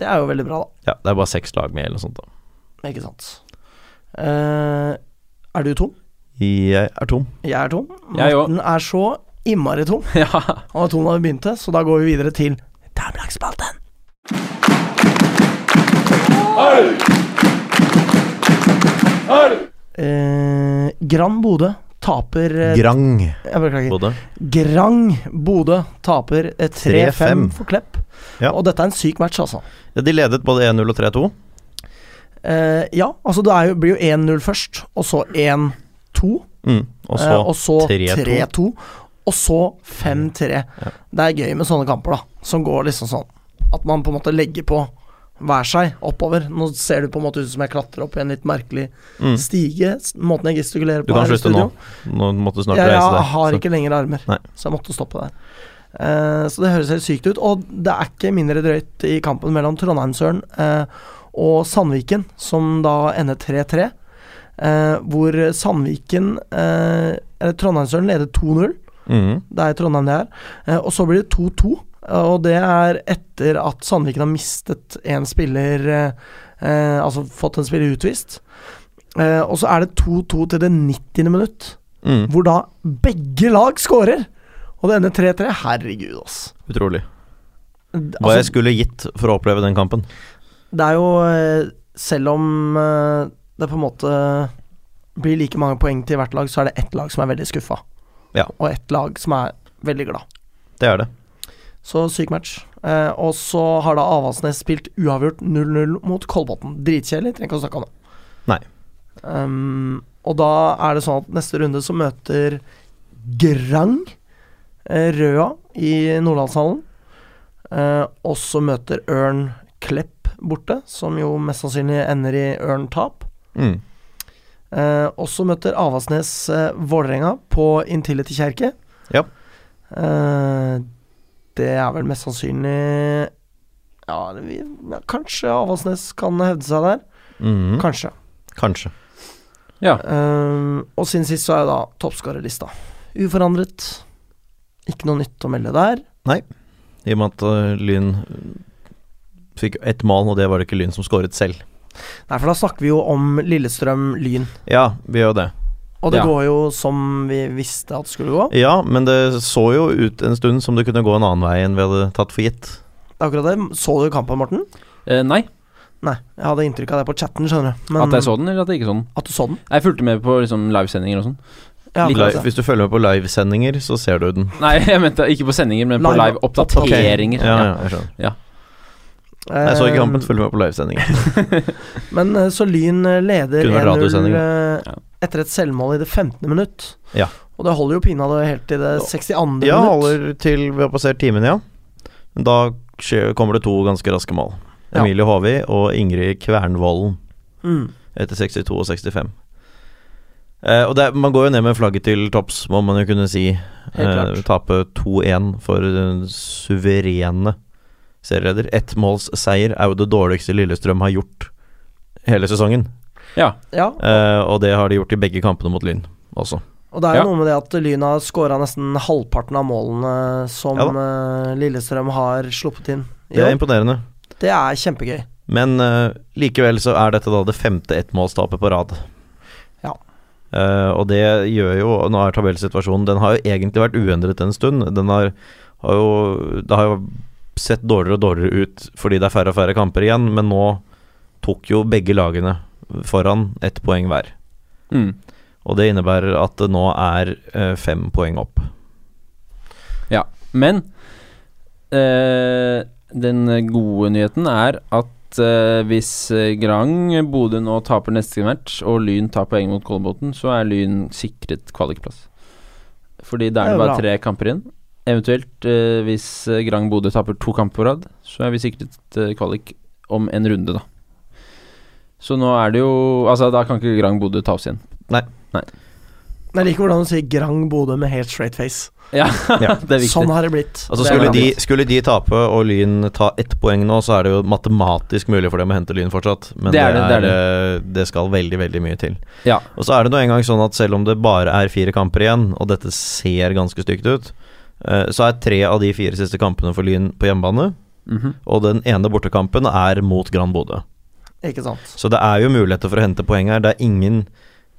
[SPEAKER 1] Det er jo veldig bra, da.
[SPEAKER 3] Ja, Det er bare seks lag med, eller noe sånt. da
[SPEAKER 1] Ikke sant. Eh, er du tom?
[SPEAKER 3] Jeg er tom.
[SPEAKER 1] Jeg er tom.
[SPEAKER 2] Jeg
[SPEAKER 1] Morten er så innmari tom.
[SPEAKER 2] Ja.
[SPEAKER 1] Han var tom da vi begynte, så da går vi videre til Damelagsspalten. Eh, Grand Bodø taper eh,
[SPEAKER 3] Grang
[SPEAKER 1] Jeg beklager.
[SPEAKER 3] Bodø.
[SPEAKER 1] Grand Bodø taper eh, 3-5
[SPEAKER 3] 3-5.
[SPEAKER 1] for Klepp.
[SPEAKER 3] Ja.
[SPEAKER 1] Og dette er en syk match, altså.
[SPEAKER 3] Ja, de ledet både 1-0 og 3-2.
[SPEAKER 1] Eh, ja, altså det er jo, blir jo 1-0 først, og så 1-2,
[SPEAKER 3] Mm. Og
[SPEAKER 1] eh, og
[SPEAKER 3] så
[SPEAKER 1] så
[SPEAKER 3] 3-2.
[SPEAKER 1] 3-2, og så 5-3. Det er gøy med sånne kamper, da, som går liksom sånn at man på en måte legger på hver seg oppover. Nå ser du på en måte ut som jeg klatrer opp i en litt merkelig
[SPEAKER 3] Mm.
[SPEAKER 1] stige. s- Måten jeg gestikulerer
[SPEAKER 3] Du
[SPEAKER 1] på
[SPEAKER 3] kan
[SPEAKER 1] her i
[SPEAKER 3] slutte nå.
[SPEAKER 1] studio.
[SPEAKER 3] Nå måtte du snart
[SPEAKER 1] Jeg,
[SPEAKER 3] reise deg.
[SPEAKER 1] jeg har
[SPEAKER 3] så-
[SPEAKER 1] ikke lenger armer,
[SPEAKER 3] Nei.
[SPEAKER 1] så jeg måtte stoppe der. Eh, så det høres helt sykt ut. Og det er ikke mindre drøyt i kampen mellom Trondheimsøren eh, og Sandviken, som da ender 3-3. Eh, hvor Sandviken eh, Eller Trondheimsøren leder 2-0.
[SPEAKER 3] Mhm.
[SPEAKER 1] Det er Trondheim det er. Eh, og så blir det 2-2. eh, Og det er etter at Sandviken har mistet en spiller eh, eh, Altså fått en spiller utvist. Eh, og så er det 2-2 til det 90. minutt,
[SPEAKER 3] Mhm.
[SPEAKER 1] hvor da begge lag scorer! Og det ender 3-3. Herregud, ass.
[SPEAKER 3] Utrolig.
[SPEAKER 1] D-
[SPEAKER 3] Hva jeg
[SPEAKER 1] Altså,
[SPEAKER 3] skulle gitt for å oppleve den kampen.
[SPEAKER 1] det er jo eh, Selv om eh, det på en måte blir like mange poeng til hvert lag, så er det ett lag som er veldig skuffa.
[SPEAKER 3] Ja.
[SPEAKER 1] Og ett lag som er veldig glad.
[SPEAKER 3] Det er det.
[SPEAKER 1] Så syk match. Eh, og så har da Avaldsnes spilt uavgjort 0-0 mot Kolbotn. Dritkjedelig, trenger ikke å snakke om det.
[SPEAKER 3] Nei.
[SPEAKER 1] Ehm, og da er det sånn at neste runde så møter Grang eh, Røa i Nordlandshallen. Eh, og så møter Ørn Klepp borte, som jo mest sannsynlig ender i Ørn-tap.
[SPEAKER 3] Mm.
[SPEAKER 1] Eh, og så møter Avaldsnes eh, Vålerenga på Intility kjerke.
[SPEAKER 3] Ja.
[SPEAKER 1] Eh, det er vel mest sannsynlig Ja, det vi, ja kanskje Avaldsnes kan hevde seg der.
[SPEAKER 3] Mhm.
[SPEAKER 1] Kanskje.
[SPEAKER 3] Kanskje.
[SPEAKER 2] Mm. ja.
[SPEAKER 1] Eh, og siden sist så er jo da toppskårerlista uforandret. Ikke noe nytt å melde der.
[SPEAKER 3] I og med at øh, Lyn fikk ett mål, og det var det ikke Lyn som skåret selv.
[SPEAKER 1] Nei, for da snakker vi jo om Lillestrøm Lyn.
[SPEAKER 3] Ja, vi gjør jo det.
[SPEAKER 1] Og det
[SPEAKER 2] Ja.
[SPEAKER 1] går jo som vi visste at det skulle gå.
[SPEAKER 3] Ja, men det så jo ut en stund som det kunne gå en annen vei enn vi hadde tatt for gitt.
[SPEAKER 1] Det er akkurat det. Så du kampen, Morten?
[SPEAKER 2] Eh, nei.
[SPEAKER 1] Nei, jeg hadde inntrykk av det på chatten, skjønner du.
[SPEAKER 2] At jeg så den, eller at jeg ikke så den.
[SPEAKER 1] at du så den?
[SPEAKER 2] Jeg fulgte med på liksom, livesendinger og sånn.
[SPEAKER 1] Ja,
[SPEAKER 2] Litt
[SPEAKER 1] akkurat
[SPEAKER 3] Live,
[SPEAKER 1] det.
[SPEAKER 3] hvis du følger med på livesendinger, så ser du den.
[SPEAKER 2] Nei, jeg mente ikke på sendinger, men på
[SPEAKER 1] Live-
[SPEAKER 2] live-oppdateringer.
[SPEAKER 3] Ja, ja, jeg skjønner. Jeg så ikke kampen, følger med på livesendinger.
[SPEAKER 1] Men eh, så Lyn eh, leder
[SPEAKER 3] Kunne
[SPEAKER 1] 1-0
[SPEAKER 3] vært radiosending,
[SPEAKER 1] eh,
[SPEAKER 2] Ja.
[SPEAKER 1] etter et selvmål i det 15. minutt.
[SPEAKER 3] Ja.
[SPEAKER 1] Og det holder jo pinadø helt til det 62.
[SPEAKER 3] Ja,
[SPEAKER 1] minutt.
[SPEAKER 3] holder til vi har passert timen, ja. Men Da skje- kommer det to ganske raske mål.
[SPEAKER 1] Ja.
[SPEAKER 3] Emilie Håvi og Ingrid Kvernvollen
[SPEAKER 1] Mm.
[SPEAKER 3] etter 62 og 65. Eh, og det, er- man går jo ned med flagget til topps, må man jo kunne si.
[SPEAKER 1] Helt klart.
[SPEAKER 3] Eh, tape 2-1 for den suverene seriereder. Ettmålsseier er jo det dårligste Lillestrøm har gjort hele sesongen.
[SPEAKER 2] Ja.
[SPEAKER 1] Ja,
[SPEAKER 3] Eh, og det har de gjort i begge kampene mot Lyn også.
[SPEAKER 1] Og det er jo
[SPEAKER 2] Ja.
[SPEAKER 1] noe med det at Lyn har skåra nesten halvparten av målene som
[SPEAKER 3] Ja
[SPEAKER 1] eh, Lillestrøm har sluppet inn.
[SPEAKER 3] Det er
[SPEAKER 1] Ja,
[SPEAKER 3] imponerende.
[SPEAKER 1] det er kjempegøy.
[SPEAKER 3] Men eh, likevel så er dette da det femte ettmålstapet på rad.
[SPEAKER 1] Ja.
[SPEAKER 3] Eh, og det gjør jo og Nå er tabellsituasjonen Den har jo egentlig vært uendret en stund. Den har, har jo Det har jo sett dårligere og dårligere ut fordi det er færre og færre kamper igjen, men nå tok jo begge lagene foran ett poeng hver.
[SPEAKER 2] Mm.
[SPEAKER 3] Og det innebærer at det nå er eh, fem poeng opp.
[SPEAKER 2] Men eh, den gode nyheten er at eh, hvis eh, Grang Bodø nå taper neste match, og Lyn tar poeng mot Kolbotn, så er Lyn sikret kvalikplass. Fordi
[SPEAKER 1] Det
[SPEAKER 2] da er
[SPEAKER 1] er
[SPEAKER 2] det
[SPEAKER 1] bra.
[SPEAKER 2] bare tre kamper igjen. Eventuelt, eh, hvis eh, Grang Bodø taper to kamper på rad, så er vi sikret eh, kvalik om en runde, da. Så nå er det jo Altså, da kan ikke Grang Bodø ta oss igjen.
[SPEAKER 1] Men jeg liker hvordan du sier Grang Bodø med helt straight face.
[SPEAKER 2] Ja,
[SPEAKER 3] Ja,
[SPEAKER 2] det er viktig.
[SPEAKER 1] Sånn har det blitt.
[SPEAKER 3] Altså
[SPEAKER 2] Det er
[SPEAKER 3] skulle
[SPEAKER 2] bra.
[SPEAKER 3] de, skulle de tape og Lyn ta ett poeng nå, så er det jo matematisk mulig for dem å hente Lyn fortsatt. Men det,
[SPEAKER 2] Det er det, det er
[SPEAKER 3] er, eh, det skal veldig, veldig mye til.
[SPEAKER 2] Ja.
[SPEAKER 3] Og så er det nå engang sånn at selv om det bare er fire kamper igjen, og dette ser ganske stygt ut, eh, så er tre av de fire siste kampene for Lyn på hjemmebane.
[SPEAKER 2] Mhm.
[SPEAKER 3] Og den ene bortekampen er mot Grand Bodø.
[SPEAKER 1] Ikke sant.
[SPEAKER 3] Så det er jo muligheter for å hente poeng her. Det er ingen,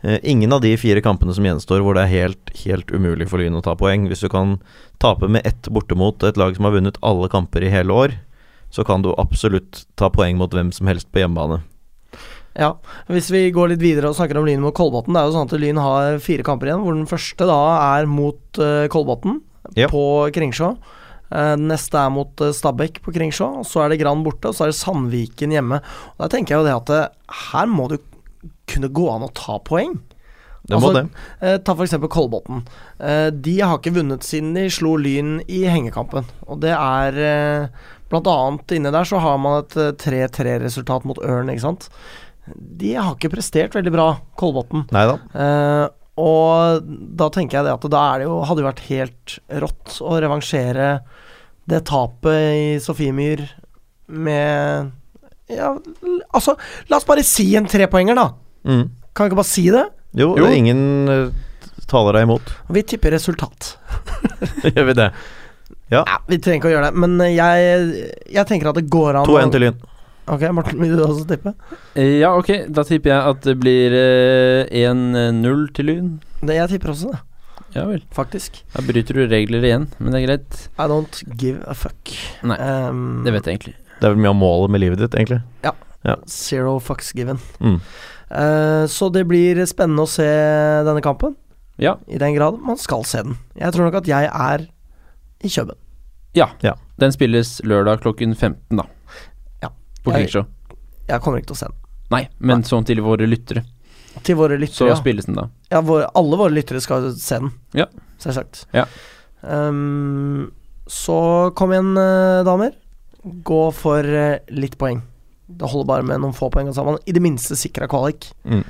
[SPEAKER 3] eh, ingen av de fire kampene som gjenstår hvor det er helt, helt umulig for Lyn å ta poeng. Hvis du kan tape med ett bortimot et lag som har vunnet alle kamper i hele år, så kan du absolutt ta poeng mot hvem som helst på hjemmebane.
[SPEAKER 1] Ja. Hvis vi går litt videre og snakker om Lyn mot Kolbotn, det er jo sånn at Lyn har fire kamper igjen, hvor den første da er mot eh, Kolbotn
[SPEAKER 3] Ja.
[SPEAKER 1] på Kringsjå. Eh, Den neste er mot eh, Stabæk på Kringsjå, og så er det Gran borte, og så er det Sandviken hjemme. Og Der tenker jeg jo det at eh, her må du kunne gå an å ta poeng.
[SPEAKER 3] Det
[SPEAKER 1] Altså,
[SPEAKER 3] må det.
[SPEAKER 1] Eh, ta f.eks. Kolbotn. Eh, de har ikke vunnet siden de slo Lyn i hengekampen. Og det er eh, Blant annet inne der så har man et eh, 3-3-resultat mot Ørn, ikke sant. De har ikke prestert veldig bra, Kolbotn.
[SPEAKER 3] Nei da.
[SPEAKER 1] Eh, og da tenker jeg det at da er det jo, hadde det vært helt rått å revansjere det tapet i Sofiemyr med Ja, l- altså, la oss bare si en trepoenger, da.
[SPEAKER 3] Mm.
[SPEAKER 1] Kan vi ikke bare si det?
[SPEAKER 3] Jo,
[SPEAKER 2] Jo.
[SPEAKER 3] ingen eh, taler deg imot.
[SPEAKER 1] Vi tipper resultat.
[SPEAKER 3] Gjør vi det?
[SPEAKER 1] Nei, vi trenger ikke å gjøre det, men jeg, jeg tenker at det går an
[SPEAKER 3] 2-1
[SPEAKER 1] å-
[SPEAKER 3] til Lyn.
[SPEAKER 1] Ok, Morten, vil du også tippe?
[SPEAKER 2] Eh, Ja, ok, da tipper jeg at det blir eh, 1-0 til Lyn.
[SPEAKER 1] Det, jeg tipper også det,
[SPEAKER 2] Ja vel.
[SPEAKER 1] faktisk.
[SPEAKER 2] Da bryter du regler igjen, men det er greit.
[SPEAKER 1] I don't give a fuck.
[SPEAKER 2] Nei,
[SPEAKER 1] Ehm,
[SPEAKER 2] Det vet jeg egentlig.
[SPEAKER 3] Det er vel mye av målet med livet ditt, egentlig.
[SPEAKER 1] Zero fucks given.
[SPEAKER 3] Mm.
[SPEAKER 1] Eh, så det blir spennende å se denne kampen,
[SPEAKER 2] Ja,
[SPEAKER 1] i den grad man skal se den. Jeg tror nok at jeg er i Køben.
[SPEAKER 2] den spilles lørdag klokken 15, da.
[SPEAKER 1] Ja.
[SPEAKER 2] På
[SPEAKER 1] Jeg-
[SPEAKER 2] Kringsjå.
[SPEAKER 1] Jeg kommer ikke til å se den.
[SPEAKER 2] Nei, men sånn til våre lyttere.
[SPEAKER 1] Til våre
[SPEAKER 2] Så
[SPEAKER 1] lyttere. ja.
[SPEAKER 2] spilles den da.
[SPEAKER 1] Ja, våre, alle våre lyttere skal jo se den.
[SPEAKER 2] Ja.
[SPEAKER 1] Selvsagt.
[SPEAKER 2] Ja.
[SPEAKER 1] Ehm, så kom igjen, eh, damer. Gå for eh, litt poeng. Det holder bare med noen få poeng. Altså. Man i det minste sikra kvalik.
[SPEAKER 3] Mm.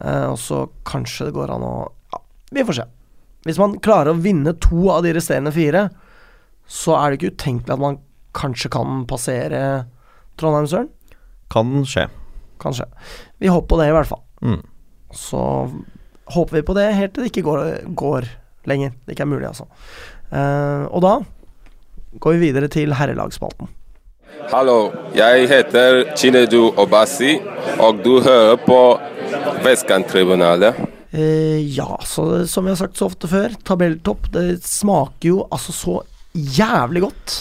[SPEAKER 1] Eh, og så kanskje det går an å ja, Vi får se. Hvis man klarer å vinne to av de resterende fire, så er det ikke utenkelig at man kanskje kan passere Trondheim-Søren.
[SPEAKER 3] Kan skje.
[SPEAKER 1] Kanskje. Vi håper på det, i hvert fall.
[SPEAKER 3] Mm.
[SPEAKER 1] Så håper vi på det helt til det ikke går, går lenger. Det ikke er mulig, altså. Eh, og da går vi videre til herrelagsspalten.
[SPEAKER 4] Hallo, jeg heter Chinedu Obasi, og du hører på Vestkanttribunalet.
[SPEAKER 1] Eh, ja, så som vi har sagt så ofte før, tabelltopp, det smaker jo altså så jævlig godt.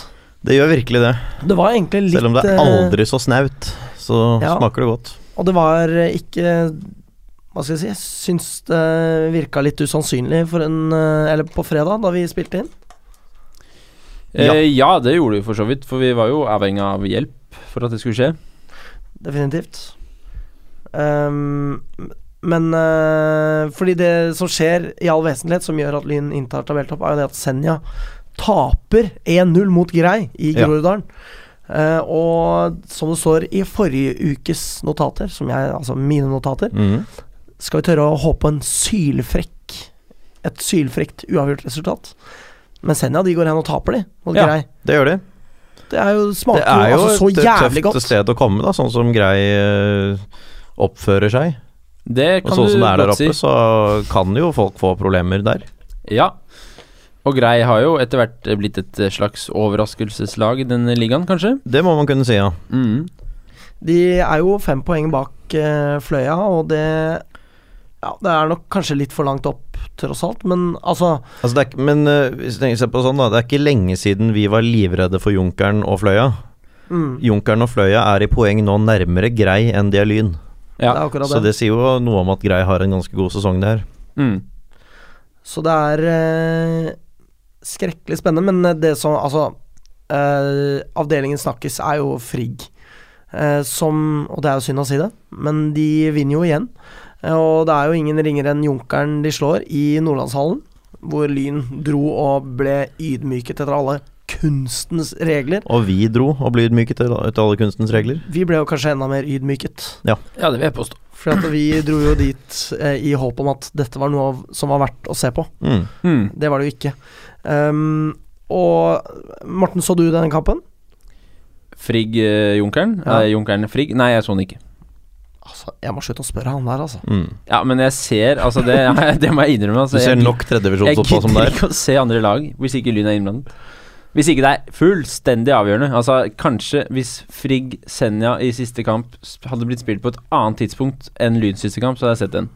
[SPEAKER 3] Det gjør virkelig det.
[SPEAKER 1] Det var egentlig litt
[SPEAKER 3] Selv om det er
[SPEAKER 1] eh,
[SPEAKER 3] aldri så snaut, så
[SPEAKER 1] ja.
[SPEAKER 3] smaker det godt.
[SPEAKER 1] Og det var eh, ikke Hva skal jeg si? Jeg syns det virka litt usannsynlig for en eh, Eller på fredag, da vi spilte inn.
[SPEAKER 2] Eh,
[SPEAKER 3] Ja.
[SPEAKER 2] ja, det gjorde vi for så vidt, for vi var jo avhengig av hjelp for at det skulle skje.
[SPEAKER 1] Definitivt. Ehm, Men eh, fordi det som skjer i all vesentlighet, som gjør at Lyn inntar tabelltopp, er jo det at Senja taper 1-0 mot Grei i
[SPEAKER 3] Ja.
[SPEAKER 1] Groruddalen. Eh, og som det står i forrige ukes notater, som jeg, altså mine notater,
[SPEAKER 3] Mm.
[SPEAKER 1] skal vi tørre å håpe på en sylfrekk Et sylfrekt uavgjort resultat. Men Senja de går hen og taper, de. Mot
[SPEAKER 2] Ja.
[SPEAKER 1] Grei.
[SPEAKER 3] Det gjør de.
[SPEAKER 1] Det er jo
[SPEAKER 3] Det
[SPEAKER 1] smaker
[SPEAKER 3] er
[SPEAKER 1] jo
[SPEAKER 3] jo
[SPEAKER 1] altså, så
[SPEAKER 3] et
[SPEAKER 1] jævlig
[SPEAKER 3] tøft
[SPEAKER 1] godt.
[SPEAKER 3] sted å komme, da, sånn som Grei eh, oppfører seg.
[SPEAKER 2] Det
[SPEAKER 3] Og
[SPEAKER 2] kan
[SPEAKER 3] sånn
[SPEAKER 2] du
[SPEAKER 3] som det er der
[SPEAKER 2] godt si.
[SPEAKER 3] oppe, så kan jo folk få problemer der.
[SPEAKER 2] Ja. Og Grei har jo etter hvert blitt et eh, slags overraskelseslag i denne ligaen, kanskje.
[SPEAKER 3] Det må man kunne si, ja.
[SPEAKER 2] Mm.
[SPEAKER 1] De er jo fem poeng bak eh, Fløya, og det Ja, det er nok kanskje litt for langt opp, tross alt, men altså
[SPEAKER 3] Altså det er, ikke- men eh, hvis du tenker seg på sånn da, det er ikke lenge siden vi var livredde for Junkeren og Fløya.
[SPEAKER 1] mm,
[SPEAKER 3] Junkeren og Fløya er i poeng nå nærmere Grei enn de er Lyn.
[SPEAKER 1] Det
[SPEAKER 2] Ja.
[SPEAKER 1] er akkurat
[SPEAKER 3] Så
[SPEAKER 1] det.
[SPEAKER 3] det sier jo noe om at Grei har en ganske god sesong der.
[SPEAKER 2] Mm.
[SPEAKER 1] Så det er eh, skrekkelig spennende, men eh, det som Altså, eh, avdelingen snakkes er jo Frigg, eh, som Og det er jo synd å si det, men de vinner jo igjen. Eh, og det er jo ingen ringere enn Junkeren de slår i Nordlandshallen, hvor Lyn dro og ble ydmyket etter alle kunstens regler.
[SPEAKER 3] Og vi dro og ble ydmyket til til alle kunstens regler.
[SPEAKER 1] Vi ble jo kanskje enda mer ydmyket.
[SPEAKER 2] ja, det vil jeg påstå.
[SPEAKER 1] For at vi dro jo dit eh, i håp om at dette var noe av, som var verdt å se på.
[SPEAKER 3] Mm.
[SPEAKER 2] Mm.
[SPEAKER 1] Det var det jo ikke. Ehm, og Morten, så du denne kampen?
[SPEAKER 2] Frigg-junkeren?
[SPEAKER 1] Ja.
[SPEAKER 2] eh, junkeren Frigg? Nei, jeg så den ikke.
[SPEAKER 1] Altså, jeg må slutte å spørre han der, altså.
[SPEAKER 3] Mm.
[SPEAKER 2] Ja, men jeg ser Altså, det, det må jeg innrømme. Altså,
[SPEAKER 3] Du ser
[SPEAKER 2] jeg,
[SPEAKER 3] nok
[SPEAKER 2] jeg
[SPEAKER 3] tredjevisjonsfotball som
[SPEAKER 2] gidder
[SPEAKER 3] det er.
[SPEAKER 2] ikke å se andre lag hvis ikke Lyn er innblandet. Hvis ikke det er fullstendig avgjørende. Altså, kanskje hvis Frigg Senja i siste kamp s- hadde blitt spilt på et annet tidspunkt enn Lyns siste kamp, så hadde jeg sett den.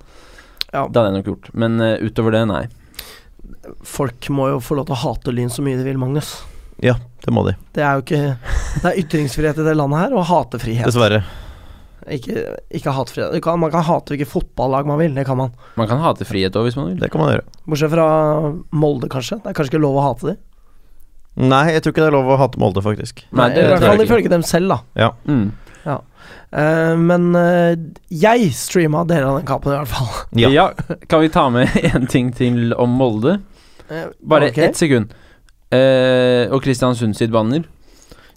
[SPEAKER 1] Ja.
[SPEAKER 2] Det hadde jeg nok gjort. Men eh, utover det, nei.
[SPEAKER 1] Folk må jo få lov til å hate Lyn så mye de vil, Magnus.
[SPEAKER 3] Det må de.
[SPEAKER 1] Det er jo ikke Det er ytringsfrihet i det landet her, og hatefrihet.
[SPEAKER 3] Dessverre.
[SPEAKER 1] Ikke, ikke hatefrihet. Du kan, man kan hate hvilket fotballag man vil, det kan man.
[SPEAKER 2] Man kan hate frihet òg, hvis man vil.
[SPEAKER 3] Det kan man gjøre.
[SPEAKER 1] Bortsett fra Molde, kanskje. Det er kanskje ikke lov å hate de.
[SPEAKER 3] Nei, jeg tror ikke det er lov å hate Molde, faktisk.
[SPEAKER 2] Nei, det
[SPEAKER 1] I hvert
[SPEAKER 2] tror
[SPEAKER 1] fall
[SPEAKER 2] jeg ikke.
[SPEAKER 1] ifølge dem selv, da.
[SPEAKER 2] Mm.
[SPEAKER 1] Eh, men eh, jeg streama deler av den kampen, i hvert fall.
[SPEAKER 3] Ja.
[SPEAKER 2] Ja. Kan vi ta med én ting til om Molde?
[SPEAKER 1] Eh,
[SPEAKER 2] Bare
[SPEAKER 1] ok.
[SPEAKER 2] ett sekund. Eh, og Kristiansund sitt banner.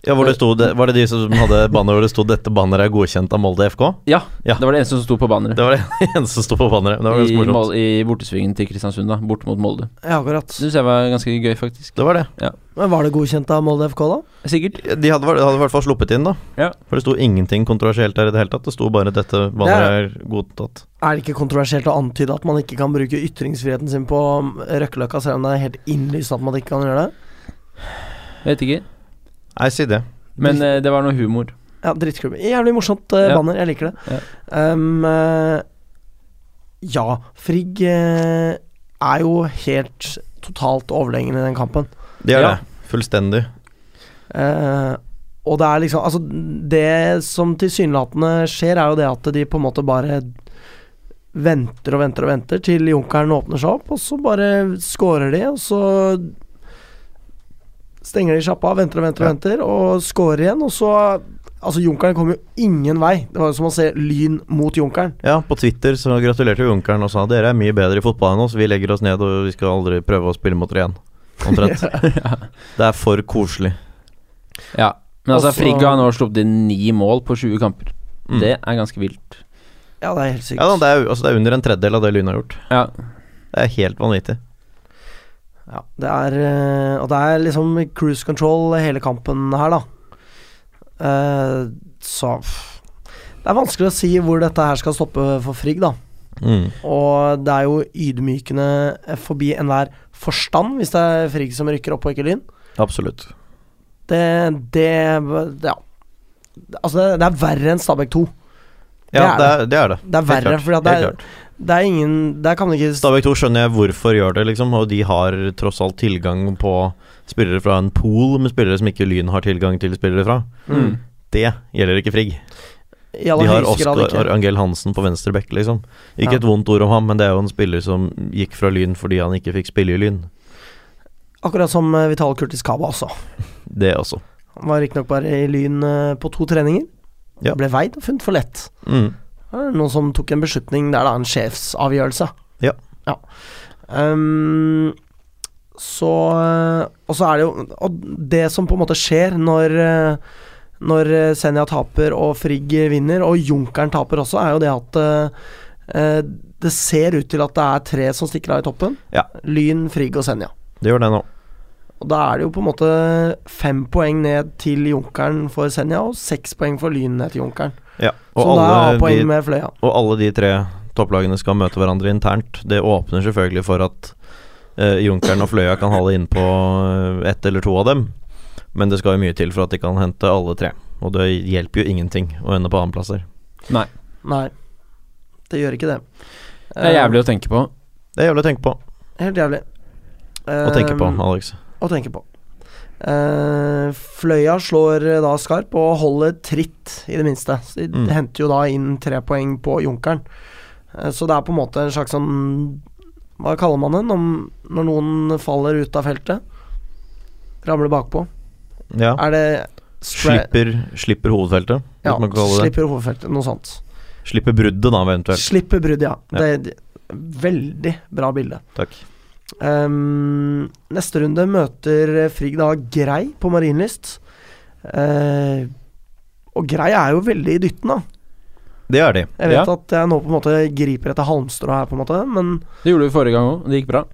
[SPEAKER 3] Ja, hvor det sto, det, Var det de som hadde banner hvor det sto 'Dette banneret er godkjent av Molde FK'? Ja.
[SPEAKER 2] Det var det eneste som sto på banneret.
[SPEAKER 3] Det var det eneste som sto på banneret. men Det var
[SPEAKER 2] I,
[SPEAKER 3] ganske morsomt.
[SPEAKER 2] Mol- I bortesvingen til Kristiansund, da. Bort mot Molde.
[SPEAKER 1] Ja, akkurat.
[SPEAKER 2] Det syns jeg var ganske gøy, faktisk.
[SPEAKER 3] Det var det.
[SPEAKER 1] Men var det godkjent av Molde FK, da?
[SPEAKER 2] Sikkert.
[SPEAKER 3] De hadde, vært- hadde i hvert fall sluppet inn, da.
[SPEAKER 2] Ja.
[SPEAKER 3] For det sto ingenting kontroversielt der i det hele tatt. Det sto bare 'dette banneret er godtatt'.
[SPEAKER 1] Er det ikke kontroversielt å antyde at man ikke kan bruke ytringsfriheten sin på mm, Røkkeløkka, selv om det er helt innlysende at man ikke kan gjøre det?
[SPEAKER 2] Jeg vet ikke.
[SPEAKER 3] Nei, si det.
[SPEAKER 2] Men eh, det var noe humor.
[SPEAKER 1] Ja, dritklubb. Jævlig morsomt eh,
[SPEAKER 2] Ja.
[SPEAKER 1] banner, jeg liker det. Um, eh, ja, Frigg eh, er jo helt totalt overlegen i den kampen.
[SPEAKER 3] De er
[SPEAKER 2] Ja.
[SPEAKER 3] det. Fullstendig.
[SPEAKER 1] Eh, og det er liksom Altså, det som tilsynelatende skjer, er jo det at de på en måte bare venter og venter og venter til junkeren åpner seg opp, og så bare scorer de, og så stenger de sjappa, venter og venter og
[SPEAKER 3] Ja.
[SPEAKER 1] venter, og scorer igjen, og så Altså, junkeren kom jo ingen vei. Det var jo som å se Lyn mot junkeren.
[SPEAKER 3] Ja, på Twitter så gratulerte vi Junkeren og sa 'dere er mye bedre i fotball enn oss', vi legger oss ned og vi skal aldri prøve å spille mot dere igjen. Omtrent. Det er for koselig.
[SPEAKER 2] Ja. Men altså,
[SPEAKER 1] Også-
[SPEAKER 2] Frigg har nå sluppet inn ni mål på 20 kamper.
[SPEAKER 3] Mm.
[SPEAKER 2] Det er ganske vilt.
[SPEAKER 1] Ja, det er helt sykt.
[SPEAKER 3] ja, da, det, er, jo- altså, det er under en tredjedel av det Lyn har gjort.
[SPEAKER 2] Ja.
[SPEAKER 3] Det er helt vanvittig.
[SPEAKER 1] Ja, det er eh, Og det er liksom cruise control hele kampen her, da. Eh, så pff. Det er vanskelig å si hvor dette her skal stoppe for Frigg, da.
[SPEAKER 3] Mm.
[SPEAKER 1] Og det er jo ydmykende forbi enhver forstand hvis det er Frigg som rykker opp og ikke Lyn.
[SPEAKER 3] Absolutt.
[SPEAKER 1] Det, det Ja. Altså, det, det er verre enn Stabæk 2.
[SPEAKER 3] Ja,
[SPEAKER 1] Det
[SPEAKER 3] det er det. Er det.
[SPEAKER 1] Det er
[SPEAKER 3] Helt
[SPEAKER 1] verre,
[SPEAKER 3] klart,
[SPEAKER 1] for det,
[SPEAKER 3] helt
[SPEAKER 1] er- det er ingen Der kan du ikke
[SPEAKER 3] Stabæk 2 skjønner jeg hvorfor gjør det, liksom, og de har tross alt tilgang på spillere fra en pool med spillere som ikke Lyn har tilgang til spillere fra.
[SPEAKER 2] Mm.
[SPEAKER 3] Det gjelder ikke Frigg.
[SPEAKER 1] I
[SPEAKER 3] De
[SPEAKER 1] aller
[SPEAKER 3] har
[SPEAKER 1] høyeste grad
[SPEAKER 3] Oskar
[SPEAKER 1] ikke.
[SPEAKER 3] Angell Hansen på venstre bekk, liksom. Ikke
[SPEAKER 1] Ja.
[SPEAKER 3] et vondt ord om ham, men det er jo en spiller som gikk fra Lyn fordi han ikke fikk spille i Lyn.
[SPEAKER 1] Akkurat som eh, Vital Kurtis Kaba også.
[SPEAKER 3] Det også.
[SPEAKER 1] Han var riktignok bare i Lyn eh, på to treninger.
[SPEAKER 3] Ja.
[SPEAKER 1] Ble veid og funnet for lett.
[SPEAKER 3] Mm.
[SPEAKER 1] Det er Noen som tok en beslutning der, da. En sjefsavgjørelse.
[SPEAKER 3] Ja.
[SPEAKER 1] Ehm, så eh, Og så er det jo Og det som på en måte skjer når eh, når eh, Senja taper og Frigg vinner, og Junkeren taper også, er jo det at eh, eh, det ser ut til at det er tre som stikker av i toppen.
[SPEAKER 3] Ja.
[SPEAKER 1] Lyn, Frigg og Senja.
[SPEAKER 3] Det gjør det nå.
[SPEAKER 1] Og da er det jo på en måte fem poeng ned til Junkeren for Senja, og seks poeng for Lyn ned til Junkeren.
[SPEAKER 3] Ja.
[SPEAKER 1] Så
[SPEAKER 3] Og
[SPEAKER 1] da er
[SPEAKER 3] alle,
[SPEAKER 1] A-poeng
[SPEAKER 3] de,
[SPEAKER 1] med Fløya.
[SPEAKER 3] og alle de tre topplagene skal møte hverandre internt. Det åpner selvfølgelig for at eh, Junkeren og Fløya kan hale innpå eh, ett eller to av dem. Men det skal jo mye til for at de kan hente alle tre. Og det hjelper jo ingenting å ende på annenplasser.
[SPEAKER 1] Nei, det gjør ikke det.
[SPEAKER 2] Det er
[SPEAKER 1] Eh,
[SPEAKER 2] jævlig å tenke på.
[SPEAKER 3] Det er jævlig å tenke på.
[SPEAKER 1] Helt jævlig.
[SPEAKER 3] Å tenke på,
[SPEAKER 1] Eh,
[SPEAKER 3] Alex.
[SPEAKER 1] Å tenke på. Eh, Fløya slår eh, da skarp og holder tritt, i det minste. Så de
[SPEAKER 3] Mm.
[SPEAKER 1] henter jo da inn tre poeng på Junkeren. Eh, så det er på en måte en slags sånn Hva kaller man det når, når noen faller ut av feltet? Ramler bakpå.
[SPEAKER 3] Ja.
[SPEAKER 1] Er det stra-
[SPEAKER 3] Slipper, slipper hovedfeltet, hvis
[SPEAKER 1] Ja,
[SPEAKER 3] man kan kalle det det.
[SPEAKER 1] slipper hovedfeltet. Noe sånt.
[SPEAKER 3] Slipper bruddet, da, eventuelt.
[SPEAKER 1] Slipper brudd, ja.
[SPEAKER 3] Ja.
[SPEAKER 1] Det, det, veldig bra bilde.
[SPEAKER 3] Takk.
[SPEAKER 1] Ehm, neste runde møter Frigg da Grei på Marienlyst. Eh, og Grei er jo veldig i dytten, da.
[SPEAKER 3] Det er de.
[SPEAKER 1] Jeg vet
[SPEAKER 2] Ja.
[SPEAKER 1] at jeg nå på en måte griper etter halmstrå her, på en måte, men
[SPEAKER 2] Det gjorde vi forrige gang òg, det gikk bra.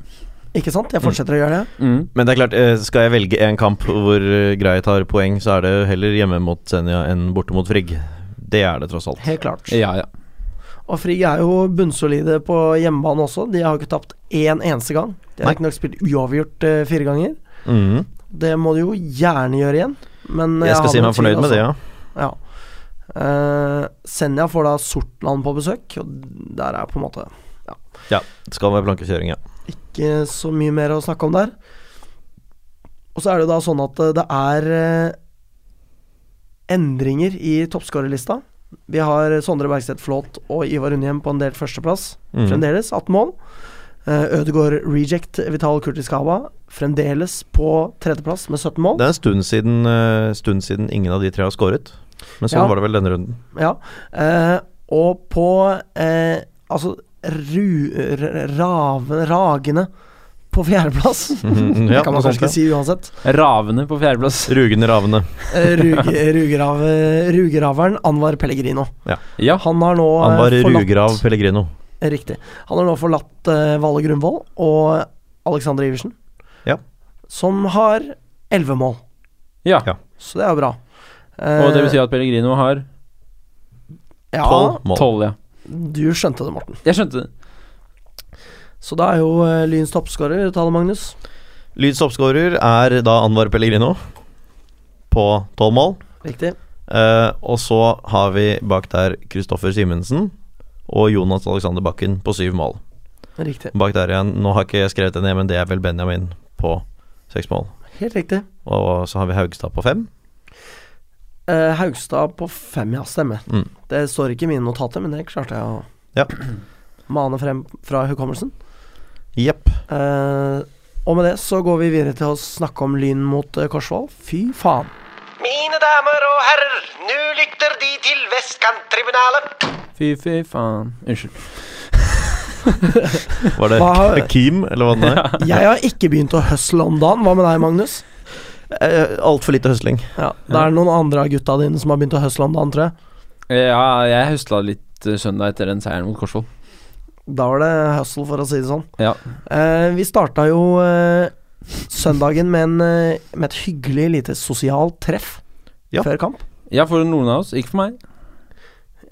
[SPEAKER 1] ikke sant? Jeg fortsetter å gjøre det.
[SPEAKER 2] Mm.
[SPEAKER 3] Men det er klart, eh, skal jeg velge en kamp hvor eh, Grei tar poeng, så er det heller hjemme mot Senja enn borte mot Frigg. Det er det tross alt.
[SPEAKER 1] Helt klart.
[SPEAKER 2] Ja, ja.
[SPEAKER 1] Og Frigg er jo bunnsolide på hjemmebane også. De har jo ikke tapt én eneste gang. De har
[SPEAKER 3] Nei.
[SPEAKER 1] riktignok spilt uavgjort eh, fire ganger. Mm.
[SPEAKER 3] Mhm.
[SPEAKER 1] Det må de jo gjerne gjøre igjen, men
[SPEAKER 3] Jeg skal
[SPEAKER 1] har altså.
[SPEAKER 3] si
[SPEAKER 1] noen
[SPEAKER 3] meg fornøyd
[SPEAKER 1] tvil,
[SPEAKER 3] med det, ja.
[SPEAKER 1] Ja. Eh, Senja får da Sortland på besøk, og der er på en måte
[SPEAKER 3] Skal være plankekjøring, ja.
[SPEAKER 1] ikke så mye mer å snakke om der. Og så er det jo da sånn at eh, det er eh, endringer i toppskårerlista. Vi har Sondre Bergstedt Flåt og Ivar Undhjem på en delt førsteplass,
[SPEAKER 3] Mhm.
[SPEAKER 1] fremdeles 18 mål. Uh, Ødegaard Reject Vital Kurtiskava fremdeles på tredjeplass med 17 mål.
[SPEAKER 3] Det er en stund siden, eh, stund siden ingen av de tre har skåret. Men sånn
[SPEAKER 1] Ja.
[SPEAKER 3] var det vel denne runden.
[SPEAKER 1] Ja. Eh, og på eh, Altså ru, r- raven, Ragene på fjerdeplass.
[SPEAKER 3] Mhm,
[SPEAKER 1] Det
[SPEAKER 3] ja,
[SPEAKER 1] kan man
[SPEAKER 3] noe sånt,
[SPEAKER 1] kanskje ikke si uansett.
[SPEAKER 2] Ravene på fjerdeplass.
[SPEAKER 3] Rugende ravende.
[SPEAKER 1] Eh, Ruge, rugrav, rugeraveren Anwar Pellegrino.
[SPEAKER 2] Ja.
[SPEAKER 1] Han har nå eh,
[SPEAKER 3] Han var
[SPEAKER 1] forlatt
[SPEAKER 3] rugrav Pellegrino.
[SPEAKER 1] Riktig. Han har nå forlatt eh, Valle Grunvoll og Alexander Iversen,
[SPEAKER 3] Ja.
[SPEAKER 1] som har elleve mål.
[SPEAKER 2] ja.
[SPEAKER 3] Ja.
[SPEAKER 1] Så det er jo bra. Eh,
[SPEAKER 2] Og det betyr at Pellegrino har
[SPEAKER 1] ja,
[SPEAKER 3] Tolv mål.
[SPEAKER 2] tolv, ja.
[SPEAKER 1] Du skjønte det, Morten.
[SPEAKER 2] Jeg skjønte det.
[SPEAKER 1] Så da er jo eh, Lyns toppskårer Tale Magnus.
[SPEAKER 3] Lyds toppskårer er da Anwar Pellegrino på tolv mål.
[SPEAKER 1] Riktig.
[SPEAKER 3] Eh, og så har vi bak der Kristoffer Simensen og Jonas Alexander Bakken på syv mål.
[SPEAKER 1] Riktig.
[SPEAKER 3] Bak der igjen, nå har ikke jeg skrevet det ned, men det er vel Benjamin på seks mål.
[SPEAKER 1] Helt riktig.
[SPEAKER 3] Og så har vi Haugstad på fem.
[SPEAKER 1] Eh, Haugstad på fem, ja. Stemmer.
[SPEAKER 3] Mm.
[SPEAKER 1] Det står ikke i mine notater, men det klarte jeg å
[SPEAKER 3] Ja.
[SPEAKER 1] mane frem fra hukommelsen.
[SPEAKER 3] Jepp.
[SPEAKER 1] Eh, og med det så går vi videre til å snakke om Lyn mot eh, Korsvoll. Fy faen.
[SPEAKER 5] Mine damer og herrer, nå lytter De til Vestkanttribunalet.
[SPEAKER 2] Fy, fy faen. Unnskyld.
[SPEAKER 3] Var det
[SPEAKER 1] Hva har-
[SPEAKER 3] Kim, eller hva det er?
[SPEAKER 1] Jeg har ikke begynt å høsle om dagen. Hva med deg, Magnus?
[SPEAKER 3] Eh, Altfor lite høsling.
[SPEAKER 1] Ja, Det er noen andre av gutta dine som har begynt å høsle om dagen, tror jeg.
[SPEAKER 2] Ja, jeg høsla litt eh, søndag etter den seieren mot Korsvoll.
[SPEAKER 1] Da var det hustle, for å si det sånn.
[SPEAKER 2] Ja.
[SPEAKER 1] Eh, vi starta jo eh, søndagen med, en, eh, med et hyggelig lite sosialt treff
[SPEAKER 3] Ja.
[SPEAKER 1] før kamp.
[SPEAKER 2] ja, for noen av oss. Ikke for meg.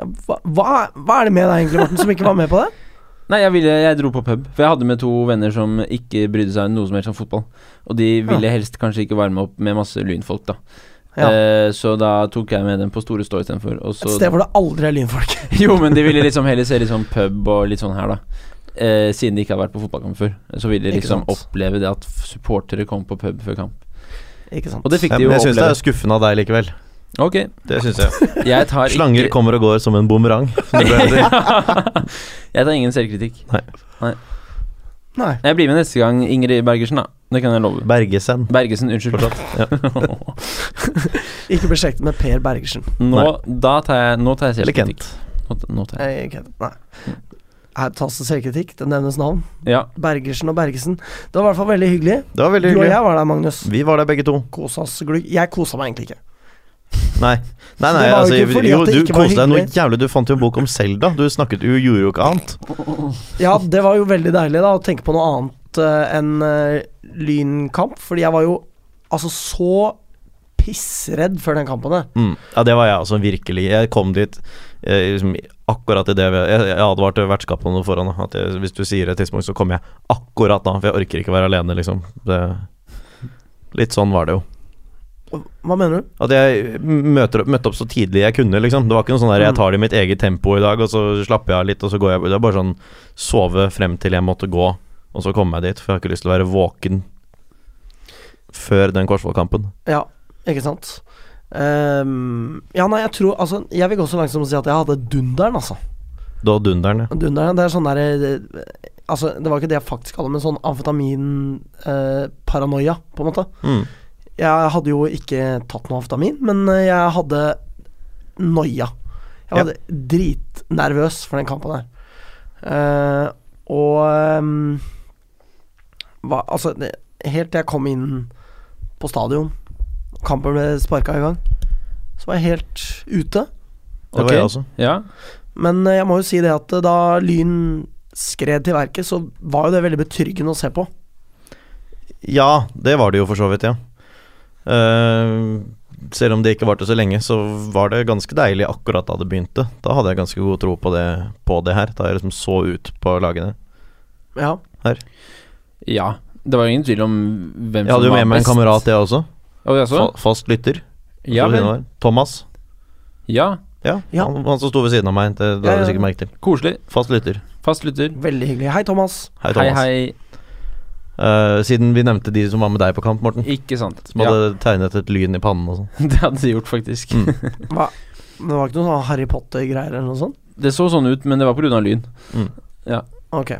[SPEAKER 1] Ja, hva, hva, hva er det med deg egentlig, Morten, som ikke var med på det?
[SPEAKER 2] Nei, jeg, ville, jeg dro på pub, for jeg hadde med to venner som ikke brydde seg om noe som helst om fotball. Og de ville helst kanskje ikke varme opp med masse lynfolk, da.
[SPEAKER 1] Ja.
[SPEAKER 2] Eh, så da tok jeg med dem på Store Stå istedenfor. og
[SPEAKER 1] Et
[SPEAKER 2] så-
[SPEAKER 1] sted hvor det aldri er lynfolk.
[SPEAKER 2] Jo, men de ville liksom heller se litt sånn pub og litt sånn her, da. Eh, siden de ikke har vært på fotballkamp før. Så ville de
[SPEAKER 1] Ikke
[SPEAKER 2] liksom
[SPEAKER 1] sant.
[SPEAKER 2] oppleve det at f- supportere kom på pub før kamp.
[SPEAKER 1] Ikke sant?
[SPEAKER 2] Og det fikk
[SPEAKER 3] Ja,
[SPEAKER 2] de
[SPEAKER 3] men
[SPEAKER 2] jo
[SPEAKER 3] jeg syns det
[SPEAKER 2] oppleve.
[SPEAKER 3] er skuffende av deg likevel.
[SPEAKER 2] Ok,
[SPEAKER 3] Det syns jeg.
[SPEAKER 2] jeg tar
[SPEAKER 3] Slanger
[SPEAKER 2] ikke
[SPEAKER 3] kommer og går som en bumerang. som det heter.
[SPEAKER 2] Jeg tar ingen selvkritikk.
[SPEAKER 1] Nei.
[SPEAKER 2] Jeg blir med neste gang, Ingrid Bergersen, da. Det kan jeg love.
[SPEAKER 3] Bergesen.
[SPEAKER 2] Bergesen, unnskyld.
[SPEAKER 1] Ikke beslekt med Per Bergersen.
[SPEAKER 2] Nå, da tar jeg, nå tar jeg
[SPEAKER 3] Eller
[SPEAKER 2] selvkritikk.
[SPEAKER 3] Kent.
[SPEAKER 2] Not, not her.
[SPEAKER 1] Eh, ok, Nei. Her tas det selvkritikk. Det nevnes navn.
[SPEAKER 2] Ja.
[SPEAKER 1] Bergersen og Bergesen. Det var i hvert fall veldig hyggelig.
[SPEAKER 3] Det var veldig
[SPEAKER 1] Du og
[SPEAKER 3] hyggelig.
[SPEAKER 1] jeg var der, Magnus.
[SPEAKER 3] Vi var der begge to.
[SPEAKER 1] Kosa oss glugg. Jeg kosa meg egentlig ikke.
[SPEAKER 3] Nei, nei, nei
[SPEAKER 1] Det var jo
[SPEAKER 3] altså,
[SPEAKER 1] ikke fordi
[SPEAKER 3] jo,
[SPEAKER 1] at det
[SPEAKER 3] du
[SPEAKER 1] ikke var
[SPEAKER 3] koste deg noe
[SPEAKER 1] hyggelig.
[SPEAKER 3] jævlig. Du fant jo en bok om Selda. Du snakket jo, gjorde jo ikke annet.
[SPEAKER 1] Ja, det var jo veldig deilig da å tenke på noe annet eh, enn eh, lynkamp. Fordi jeg var jo altså så pissredd før den kampen. jeg.
[SPEAKER 3] Mm. Ja, det var jeg også, virkelig. Jeg kom dit eh, liksom, akkurat i det vi- Jeg, jeg advarte vertskapene foran at jeg, hvis du sier et tidspunkt, så kommer jeg akkurat da. For jeg orker ikke være alene, liksom. Det, litt sånn var det jo.
[SPEAKER 1] Hva mener du?
[SPEAKER 3] At jeg møter, opp- møtte opp så tidlig jeg kunne, liksom. Det var ikke noe sånn der
[SPEAKER 2] Mm.
[SPEAKER 3] jeg tar det i mitt eget tempo i dag, og så slapper jeg av litt, og så går jeg Det var bare sånn sove frem til jeg måtte gå, og så komme meg dit. For jeg har ikke lyst til å være våken før den Korsvoll-kampen.
[SPEAKER 1] Ja, ikke sant? Ehm, ja, nei, jeg tror Altså, jeg vil gå så langt som å si at jeg hadde dunderen, altså.
[SPEAKER 3] Da dunderen, ja.
[SPEAKER 1] Dunderen, det er sånn derre det- Altså, det var ikke det jeg faktisk kaller men sånn amfetamin-paranoia, på en måte.
[SPEAKER 3] Mm.
[SPEAKER 1] Jeg hadde jo ikke tatt noe amfetamin, men eh, jeg hadde noia. Jeg
[SPEAKER 3] Ja.
[SPEAKER 1] var dritnervøs for den kampen her. Eh, og ehm, hva, Altså, det, helt til jeg kom inn på stadion, kampen ble sparka i gang, så var jeg helt ute.
[SPEAKER 3] Det
[SPEAKER 2] Ok.
[SPEAKER 3] var jeg også.
[SPEAKER 2] Ja.
[SPEAKER 1] Men eh, jeg må jo si det at eh, da Lyn skred til verket, så var jo det veldig betryggende å se på.
[SPEAKER 3] Ja, det var det jo for så vidt, ja. Eh, selv om det ikke varte så lenge, så var det ganske deilig akkurat da det begynte. Da hadde jeg ganske god tro på det, på det her, da jeg liksom så ut på lagene.
[SPEAKER 1] Ja.
[SPEAKER 2] ja. Det var jo ingen tvil om hvem
[SPEAKER 3] Jeg
[SPEAKER 2] som
[SPEAKER 3] hadde jo
[SPEAKER 2] var
[SPEAKER 3] med meg en
[SPEAKER 2] best.
[SPEAKER 3] kamerat, jeg også.
[SPEAKER 2] Å, jaså?
[SPEAKER 3] Fa- Fast lytter.
[SPEAKER 2] Ja,
[SPEAKER 3] Skal vi
[SPEAKER 2] vel.
[SPEAKER 3] si noe her? Thomas.
[SPEAKER 2] ja.
[SPEAKER 3] Ja,
[SPEAKER 1] Ja.
[SPEAKER 3] Han, han som sto ved siden av meg. Det, det
[SPEAKER 1] Ja,
[SPEAKER 3] har du
[SPEAKER 1] ja.
[SPEAKER 3] sikkert merket til.
[SPEAKER 2] Koselig.
[SPEAKER 3] Fast lytter.
[SPEAKER 2] Fast lytter.
[SPEAKER 1] Veldig hyggelig. Hei, Thomas.
[SPEAKER 2] Hei,
[SPEAKER 3] Hei, Thomas.
[SPEAKER 2] hei.
[SPEAKER 3] Eh, siden vi nevnte de som var med deg på kamp, Morten.
[SPEAKER 2] Ikke sant.
[SPEAKER 3] Som hadde tegnet et lyn i pannen og sånn.
[SPEAKER 2] Ja, det hadde de gjort, faktisk.
[SPEAKER 1] Hva? Det var ikke noe sånn Harry Potter-greier eller noe sånt?
[SPEAKER 2] Det så sånn ut, men det var pga. lyn,
[SPEAKER 1] Ok.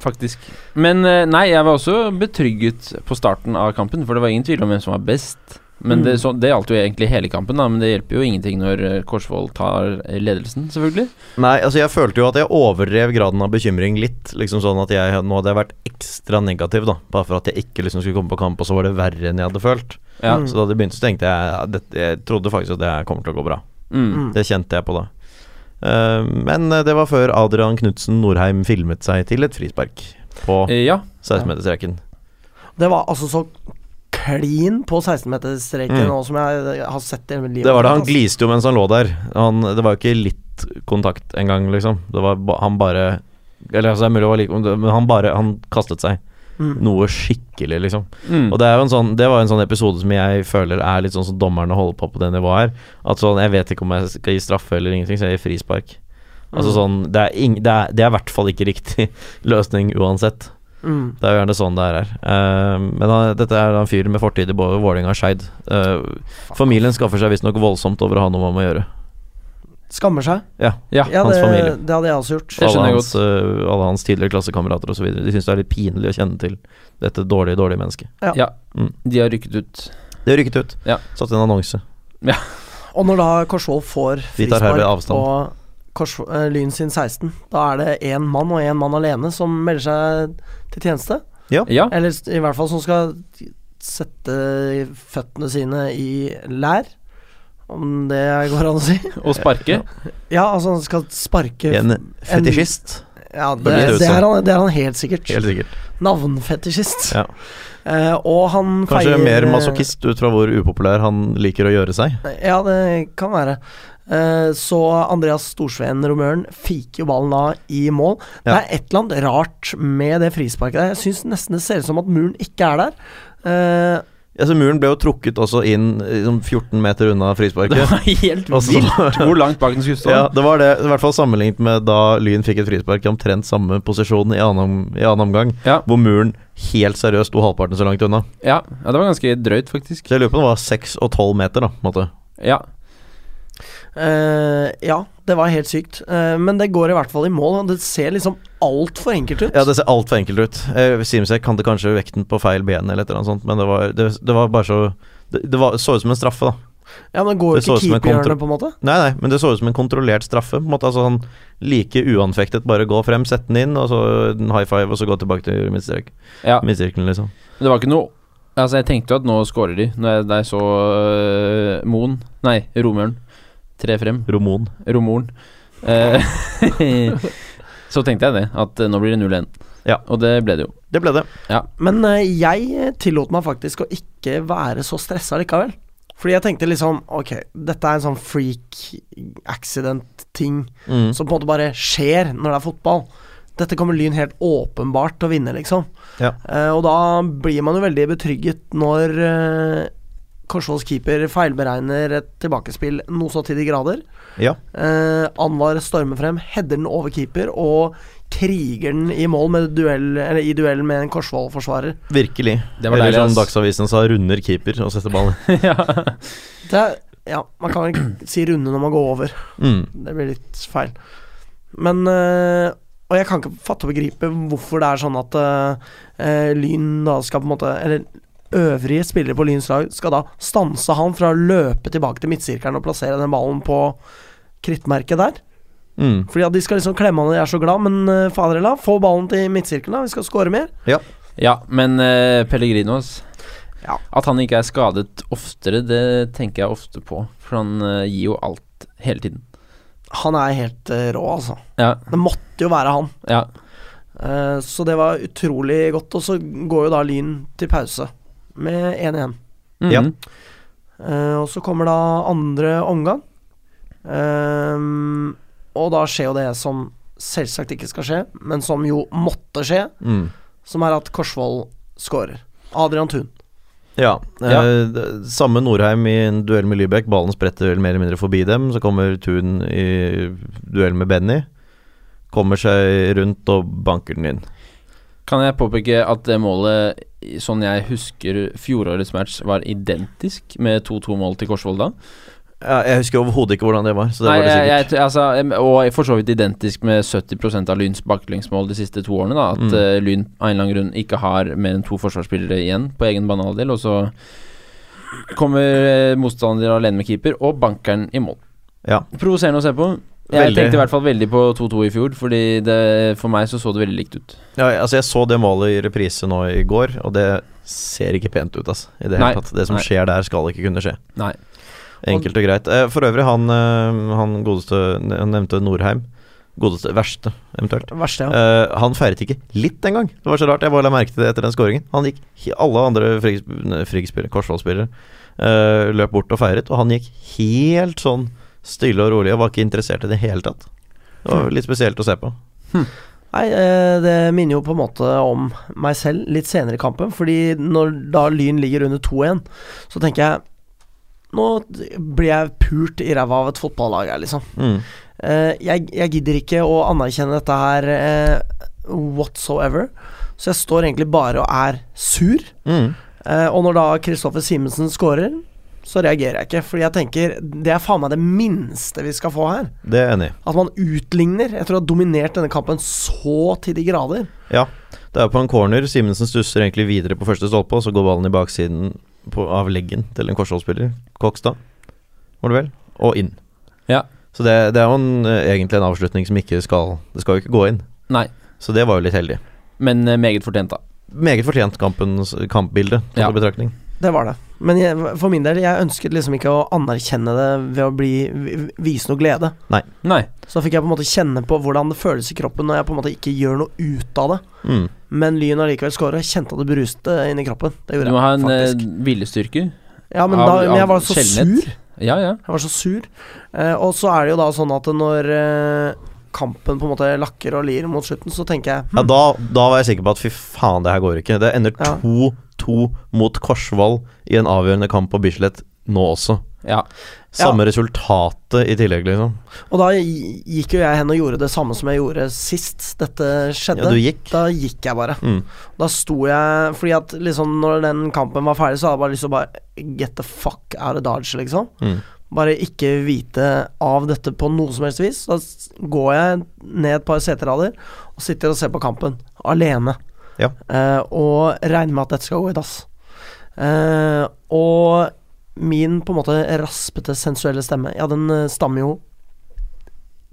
[SPEAKER 2] faktisk. Men eh, nei, jeg var også betrygget på starten av kampen, for det var ingen tvil om hvem som var best. Men
[SPEAKER 1] Mm.
[SPEAKER 2] det, så, det gjaldt jo egentlig hele kampen, da, men det hjelper jo ingenting når eh, Korsvoll tar eh, ledelsen, selvfølgelig.
[SPEAKER 3] Nei, altså jeg følte jo at jeg overdrev graden av bekymring litt. Liksom sånn at jeg nå hadde jeg vært ekstra negativ, da. Bare for at jeg ikke liksom skulle komme på kamp, og så var det verre enn jeg hadde følt.
[SPEAKER 2] Ja.
[SPEAKER 1] Mm.
[SPEAKER 3] Så da det begynte, så tenkte jeg ja, dette- Jeg trodde faktisk at det her kommer til å gå bra.
[SPEAKER 2] Mm.
[SPEAKER 1] Mm.
[SPEAKER 3] Det kjente jeg på da. Eh, men eh, det var før Adrian Knutsen Norheim filmet seg til et frispark på
[SPEAKER 2] Eh, Ja.
[SPEAKER 3] 16-meterstreken.
[SPEAKER 1] Det var altså så klin på 16-meterstreken
[SPEAKER 3] Mm.
[SPEAKER 1] nå som jeg eh, har sett det i hele livet.
[SPEAKER 3] Det var da han
[SPEAKER 1] Altså,
[SPEAKER 3] gliste jo mens han lå der. Han, det var jo ikke litt kontakt engang, liksom. Det var ba, han bare Eller altså, det er mulig å være like om det, men han bare Han kastet seg.
[SPEAKER 1] Mm.
[SPEAKER 3] Noe skikkelig, liksom.
[SPEAKER 2] Mm.
[SPEAKER 3] Og det, er jo en sånn, det var jo en sånn episode som jeg føler er litt sånn som dommerne holder på på det nivået her. At sånn, jeg vet ikke om jeg skal gi straffe eller ingenting, så jeg gir frispark. Altså
[SPEAKER 1] Mm.
[SPEAKER 3] sånn, det er, ing, det, er, det er i hvert fall ikke riktig løsning uansett.
[SPEAKER 1] Mm.
[SPEAKER 3] Det er jo gjerne sånn det er her. Eh, men han, dette er da en fyr med fortid i både Vålerenga og Skeid. Eh, familien skaffer seg visstnok voldsomt over å ha noe med ham å gjøre.
[SPEAKER 1] Skammer seg.
[SPEAKER 3] Ja,
[SPEAKER 2] Ja.
[SPEAKER 1] Ja,
[SPEAKER 3] hans
[SPEAKER 1] det,
[SPEAKER 3] familie.
[SPEAKER 1] det hadde jeg også gjort.
[SPEAKER 2] Det
[SPEAKER 3] alle
[SPEAKER 2] skjønner jeg
[SPEAKER 3] hans, eh, alle hans tidligere klassekamerater osv. De syns det er litt pinlig å kjenne til dette dårlige, dårlige mennesket.
[SPEAKER 2] ja.
[SPEAKER 3] Mm.
[SPEAKER 2] De har rykket ut.
[SPEAKER 3] Det rykket ut.
[SPEAKER 2] Ja.
[SPEAKER 3] Satt i en annonse.
[SPEAKER 1] Og når da Korsvoll får
[SPEAKER 3] Vi tar herved
[SPEAKER 1] frispark
[SPEAKER 3] avstand.
[SPEAKER 1] på Kors, eh, Lyn sin 16, da er det én mann og én mann alene som melder seg til tjeneste.
[SPEAKER 2] Ja.
[SPEAKER 1] Eller s- i hvert fall som skal sette føttene sine i lær, om det går an å si.
[SPEAKER 2] Og sparke.
[SPEAKER 1] Ja, altså han skal sparke
[SPEAKER 3] En fetisjist.
[SPEAKER 1] Ja, det,
[SPEAKER 3] Føles det ut
[SPEAKER 1] det, er
[SPEAKER 3] som.
[SPEAKER 1] han, det er han helt sikkert.
[SPEAKER 3] Helt sikkert.
[SPEAKER 1] Navnfetisjist.
[SPEAKER 3] Ja.
[SPEAKER 1] Eh, og han
[SPEAKER 3] Kanskje
[SPEAKER 1] feier eh,
[SPEAKER 3] mer masochist ut fra hvor upopulær han liker å gjøre seg.
[SPEAKER 1] Ja, det kan være. Eh, så Andreas Storsveen, romøren, fiker jo ballen da i mål. Det
[SPEAKER 3] Ja.
[SPEAKER 1] er et eller annet rart med det frisparket der. Jeg syns nesten det ser ut som at muren ikke er der. Eh,
[SPEAKER 3] Altså, muren ble jo trukket også inn liksom 14 meter unna
[SPEAKER 2] Det
[SPEAKER 3] frisparket.
[SPEAKER 2] var helt
[SPEAKER 3] Og så-
[SPEAKER 2] vilt hvor langt bak den skulle stå.
[SPEAKER 3] Ja, det var det. I hvert fall sammenlignet med da Lyn fikk et frispark i omtrent samme posisjon i annen, om- i annen omgang,
[SPEAKER 2] Ja.
[SPEAKER 3] hvor muren helt seriøst sto halvparten så langt unna.
[SPEAKER 2] Ja. ja, det var ganske drøyt, faktisk.
[SPEAKER 3] Så jeg lurer på om det var 6 og 12 meter, da. På en måte.
[SPEAKER 2] Ja.
[SPEAKER 1] eh, ja, det var helt sykt. Eh, men det går i hvert fall i mål. og Det ser liksom altfor enkelt ut.
[SPEAKER 3] Ja, det ser altfor enkelt ut. Eh, Simsek hadde kanskje vekten på feil ben eller et eller annet sånt, men det var, det, det var bare så det, det var, så ut som en straffe, da.
[SPEAKER 1] Ja, men går
[SPEAKER 3] Det så
[SPEAKER 1] ikke
[SPEAKER 3] ut som en
[SPEAKER 1] keeperhjørnet,
[SPEAKER 3] kontra-
[SPEAKER 1] på en måte?
[SPEAKER 3] Nei, nei, men det så ut som en kontrollert straffe. På en måte, altså sånn Like uanfektet, bare gå frem, sette den inn, og så en high five, og så gå tilbake til midtstrek-
[SPEAKER 2] Ja,
[SPEAKER 3] midtsirkelen, liksom.
[SPEAKER 2] men det var ikke noe Altså, jeg tenkte jo at nå scorer de, når jeg, da jeg så øh, Moen Nei, Romøren. Tre frem.
[SPEAKER 3] Romon.
[SPEAKER 2] Romoren. Eh, så tenkte jeg det, at eh, nå blir det 0-1.
[SPEAKER 3] Ja.
[SPEAKER 2] Og det ble det jo.
[SPEAKER 3] Det ble det.
[SPEAKER 1] Men eh, jeg tillot meg faktisk å ikke være så stressa likevel. Fordi jeg tenkte liksom Ok, dette er en sånn freak accident-ting
[SPEAKER 3] Mm.
[SPEAKER 1] som på en måte bare skjer når det er fotball. Dette kommer Lyn helt åpenbart til å vinne, liksom.
[SPEAKER 3] Ja.
[SPEAKER 1] Eh, og da blir man jo veldig betrygget når uh, Korsvolls keeper feilberegner et tilbakespill noe så til de grader.
[SPEAKER 3] ja.
[SPEAKER 1] Eh, Anwar stormer frem, header den over keeper og kriger den i mål med duell, eller i duell med en Korsvoll-forsvarer.
[SPEAKER 3] Virkelig.
[SPEAKER 2] Det var
[SPEAKER 3] Eller
[SPEAKER 2] deilig,
[SPEAKER 3] som
[SPEAKER 2] ass.
[SPEAKER 3] Dagsavisen sa, runder keeper og setter ballen.
[SPEAKER 2] ja.
[SPEAKER 1] Det er, ja, man kan ikke si runde når man går over.
[SPEAKER 3] Mm.
[SPEAKER 1] Det blir litt feil. Men eh, Og jeg kan ikke fatte og begripe hvorfor det er sånn at eh, eh, Lyn da skal på en måte Eller øvrige spillere på Lyns lag skal da stanse han fra å løpe tilbake til midtsirkelen og plassere den ballen på krittmerket der.
[SPEAKER 3] Mm.
[SPEAKER 1] Fordi at de skal liksom klemme han og jeg er så glad, men eh, fader heller, få ballen til midtsirkelen, da. Vi skal score mer.
[SPEAKER 2] ja, men eh, Pellegrino ass.
[SPEAKER 1] Ja.
[SPEAKER 2] At han ikke er skadet oftere, det tenker jeg ofte på. For han eh, gir jo alt hele tiden.
[SPEAKER 1] Han er helt eh, rå, altså.
[SPEAKER 2] Ja,
[SPEAKER 1] Det måtte jo være han.
[SPEAKER 2] ja.
[SPEAKER 1] Eh, så det var utrolig godt. Og så går jo da Lyn til pause med 1 igjen.
[SPEAKER 2] Mhm.
[SPEAKER 3] Ja.
[SPEAKER 1] Eh, og så kommer da andre omgang. Ehm, og da skjer jo det som selvsagt ikke skal skje, men som jo måtte skje,
[SPEAKER 3] Mm.
[SPEAKER 1] som er at Korsvoll scorer. Adrian Thun.
[SPEAKER 3] Ja.
[SPEAKER 2] Ja.
[SPEAKER 3] Eh, d- samme Norheim i en duell med Lybekk. Ballen spretter vel mer eller mindre forbi dem. Så kommer Thun i duell med Benny. Kommer seg rundt og banker den inn.
[SPEAKER 2] Kan jeg påpeke at det målet, i- sånn jeg husker fjorårets match, var identisk med 2-2-mål til Korsvoll da?
[SPEAKER 3] Ja, jeg husker overhodet ikke hvordan det var, så det
[SPEAKER 2] Nei,
[SPEAKER 3] var det
[SPEAKER 2] jeg,
[SPEAKER 3] sikkert.
[SPEAKER 2] jeg, altså, em, og for så vidt identisk med 70 av Lyns baklengsmål de siste to årene. Da, at
[SPEAKER 3] Mm.
[SPEAKER 2] eh, Lyn av en eller annen grunn ikke har mer enn to forsvarsspillere igjen på egen banehalvdel. Og så kommer eh, motstander alene med keeper og bankeren i mål.
[SPEAKER 3] Ja.
[SPEAKER 2] Provoserende å se på. Jeg
[SPEAKER 3] Veldig.
[SPEAKER 2] tenkte i hvert fall veldig på 2-2 i fjor, Fordi det, for meg så så det veldig likt ut.
[SPEAKER 3] Ja, altså jeg så det målet i reprise nå i går, og det ser ikke pent ut, altså. I det
[SPEAKER 2] Nei.
[SPEAKER 3] hele tatt. Det som
[SPEAKER 2] Nei.
[SPEAKER 3] skjer der, skal ikke kunne skje.
[SPEAKER 2] Nei.
[SPEAKER 3] Enkelt og greit. Eh, For øvrig, han, eh, han godeste Han nevnte Norheim. Godeste verste, eventuelt.
[SPEAKER 1] Verste, ja.
[SPEAKER 3] Eh, han feiret ikke litt engang. Det var så rart. Jeg bare la merke til det etter den skåringen. Han gikk he- Alle andre Frigg-spillere, Korsvoll-spillere, eh, løp bort og feiret, og han gikk helt sånn stille og rolig og var ikke interessert i det hele tatt. Det var litt spesielt å se på.
[SPEAKER 1] Nei, eh, det minner jo på en måte om meg selv litt senere i kampen. Fordi når da Lyn ligger under 2-1, så tenker jeg Nå blir jeg pult i ræva av et fotballag her, liksom.
[SPEAKER 3] Mm.
[SPEAKER 1] Eh, jeg, jeg gidder ikke å anerkjenne dette her eh, whatsoever. Så jeg står egentlig bare og er sur.
[SPEAKER 3] Mm.
[SPEAKER 1] Eh, og når da Kristoffer Simensen scorer, så reagerer jeg ikke. Fordi jeg tenker det er faen meg det minste vi skal få her.
[SPEAKER 3] Det er jeg enig i.
[SPEAKER 1] At man utligner etter å ha dominert denne kampen så til de grader.
[SPEAKER 3] Ja, det er på en corner. Simensen stusser egentlig videre på første stolpe, og så går ballen i baksiden på, av leggen til en Korsvoll-spiller. Kokstad, var det vel? Og inn.
[SPEAKER 2] Ja.
[SPEAKER 3] Så det, det er jo en, eh, egentlig en avslutning som ikke skal Det skal jo ikke gå inn.
[SPEAKER 2] Nei.
[SPEAKER 3] Så det var jo litt heldig.
[SPEAKER 2] Men eh, meget fortjent, da.
[SPEAKER 3] Meget fortjent kampens, kampbilde tatt
[SPEAKER 2] Ja.
[SPEAKER 3] i betraktning.
[SPEAKER 1] Det var det. Men jeg, for min del, jeg ønsket liksom ikke å anerkjenne det ved å bli, vi- vise noe glede.
[SPEAKER 2] Nei.
[SPEAKER 1] Så da fikk jeg på en måte kjenne på hvordan det føles i kroppen når jeg på en måte ikke gjør noe ut av det.
[SPEAKER 3] Mm.
[SPEAKER 1] Men Lyn allikevel scorer. Jeg kjente at det bruste inni kroppen. Det
[SPEAKER 2] Du
[SPEAKER 1] gjorde
[SPEAKER 2] må ha
[SPEAKER 1] jeg
[SPEAKER 2] en eh,
[SPEAKER 1] faktisk.
[SPEAKER 2] viljestyrke.
[SPEAKER 1] Ja, men,
[SPEAKER 2] av-
[SPEAKER 1] da, men jeg
[SPEAKER 2] av
[SPEAKER 1] var så
[SPEAKER 2] sjeldenhet.
[SPEAKER 1] sur.
[SPEAKER 2] Ja, ja.
[SPEAKER 1] Jeg var så sur. Eh, og så er det jo da sånn at når eh, kampen på en måte lakker og lir mot slutten, så tenker jeg
[SPEAKER 3] Ja, da, da var jeg sikker på at fy faen, det her går ikke. Det ender
[SPEAKER 1] Ja.
[SPEAKER 3] 2-2 mot Korsvoll i en avgjørende kamp på Bislett nå også.
[SPEAKER 2] ja.
[SPEAKER 3] Samme resultatet i tillegg, liksom.
[SPEAKER 1] Og da gikk jo jeg hen og gjorde det samme som jeg gjorde sist dette skjedde.
[SPEAKER 3] Ja, du gikk.
[SPEAKER 1] Da gikk jeg bare.
[SPEAKER 3] Mm.
[SPEAKER 1] Da sto jeg Fordi at liksom når den kampen var ferdig, så hadde jeg bare lyst til å bare Get the fuck out of Dodge, liksom.
[SPEAKER 3] Mm.
[SPEAKER 1] Bare ikke vite av dette på noe som helst vis. Da s- går jeg ned et par seterader og sitter og ser på kampen alene.
[SPEAKER 3] Ja.
[SPEAKER 1] Eh, og regner med at dette skal gå i dass. Eh, og min på en måte raspete, sensuelle stemme Ja, den eh, stammer jo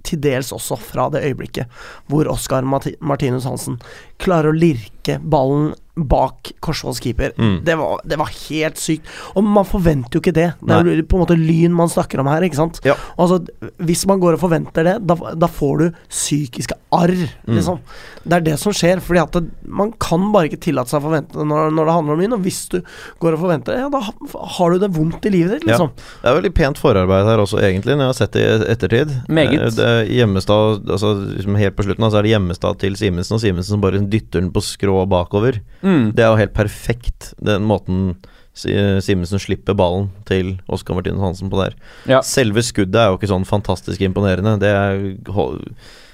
[SPEAKER 1] til dels også fra det øyeblikket hvor Oskar Marti Martinus Hansen klarer å lirke ballen bak Korsvolls keeper.
[SPEAKER 3] Mm.
[SPEAKER 1] Det, var, det var helt sykt. Og man forventer jo ikke det. Det er jo på en måte lyn man snakker om her, ikke sant?
[SPEAKER 3] Ja.
[SPEAKER 1] Og Altså, hvis man går og forventer det, da, da får du psykiske arr,
[SPEAKER 3] Mm.
[SPEAKER 1] liksom. Det er det som skjer, fordi at det, man kan bare ikke tillate seg å forvente det når, når det handler om lyn. Og hvis du går og forventer det, ja, da ha- har du det vondt i livet ditt, liksom.
[SPEAKER 3] Ja. Det er veldig pent forarbeid her også, egentlig, når jeg har sett det i ettertid.
[SPEAKER 2] Meget.
[SPEAKER 3] Eh, Det er Hjemmestad, altså liksom helt på slutten, da, så er det Hjemmestad til Simensen, og Simensen som bare dytter den på skrå bakover.
[SPEAKER 2] Mm.
[SPEAKER 3] Det er jo helt perfekt, den måten Si- Simensen slipper ballen til Oskar Martinus Hansen på der.
[SPEAKER 2] Ja.
[SPEAKER 3] Selve skuddet er jo ikke sånn fantastisk imponerende. Det er ho-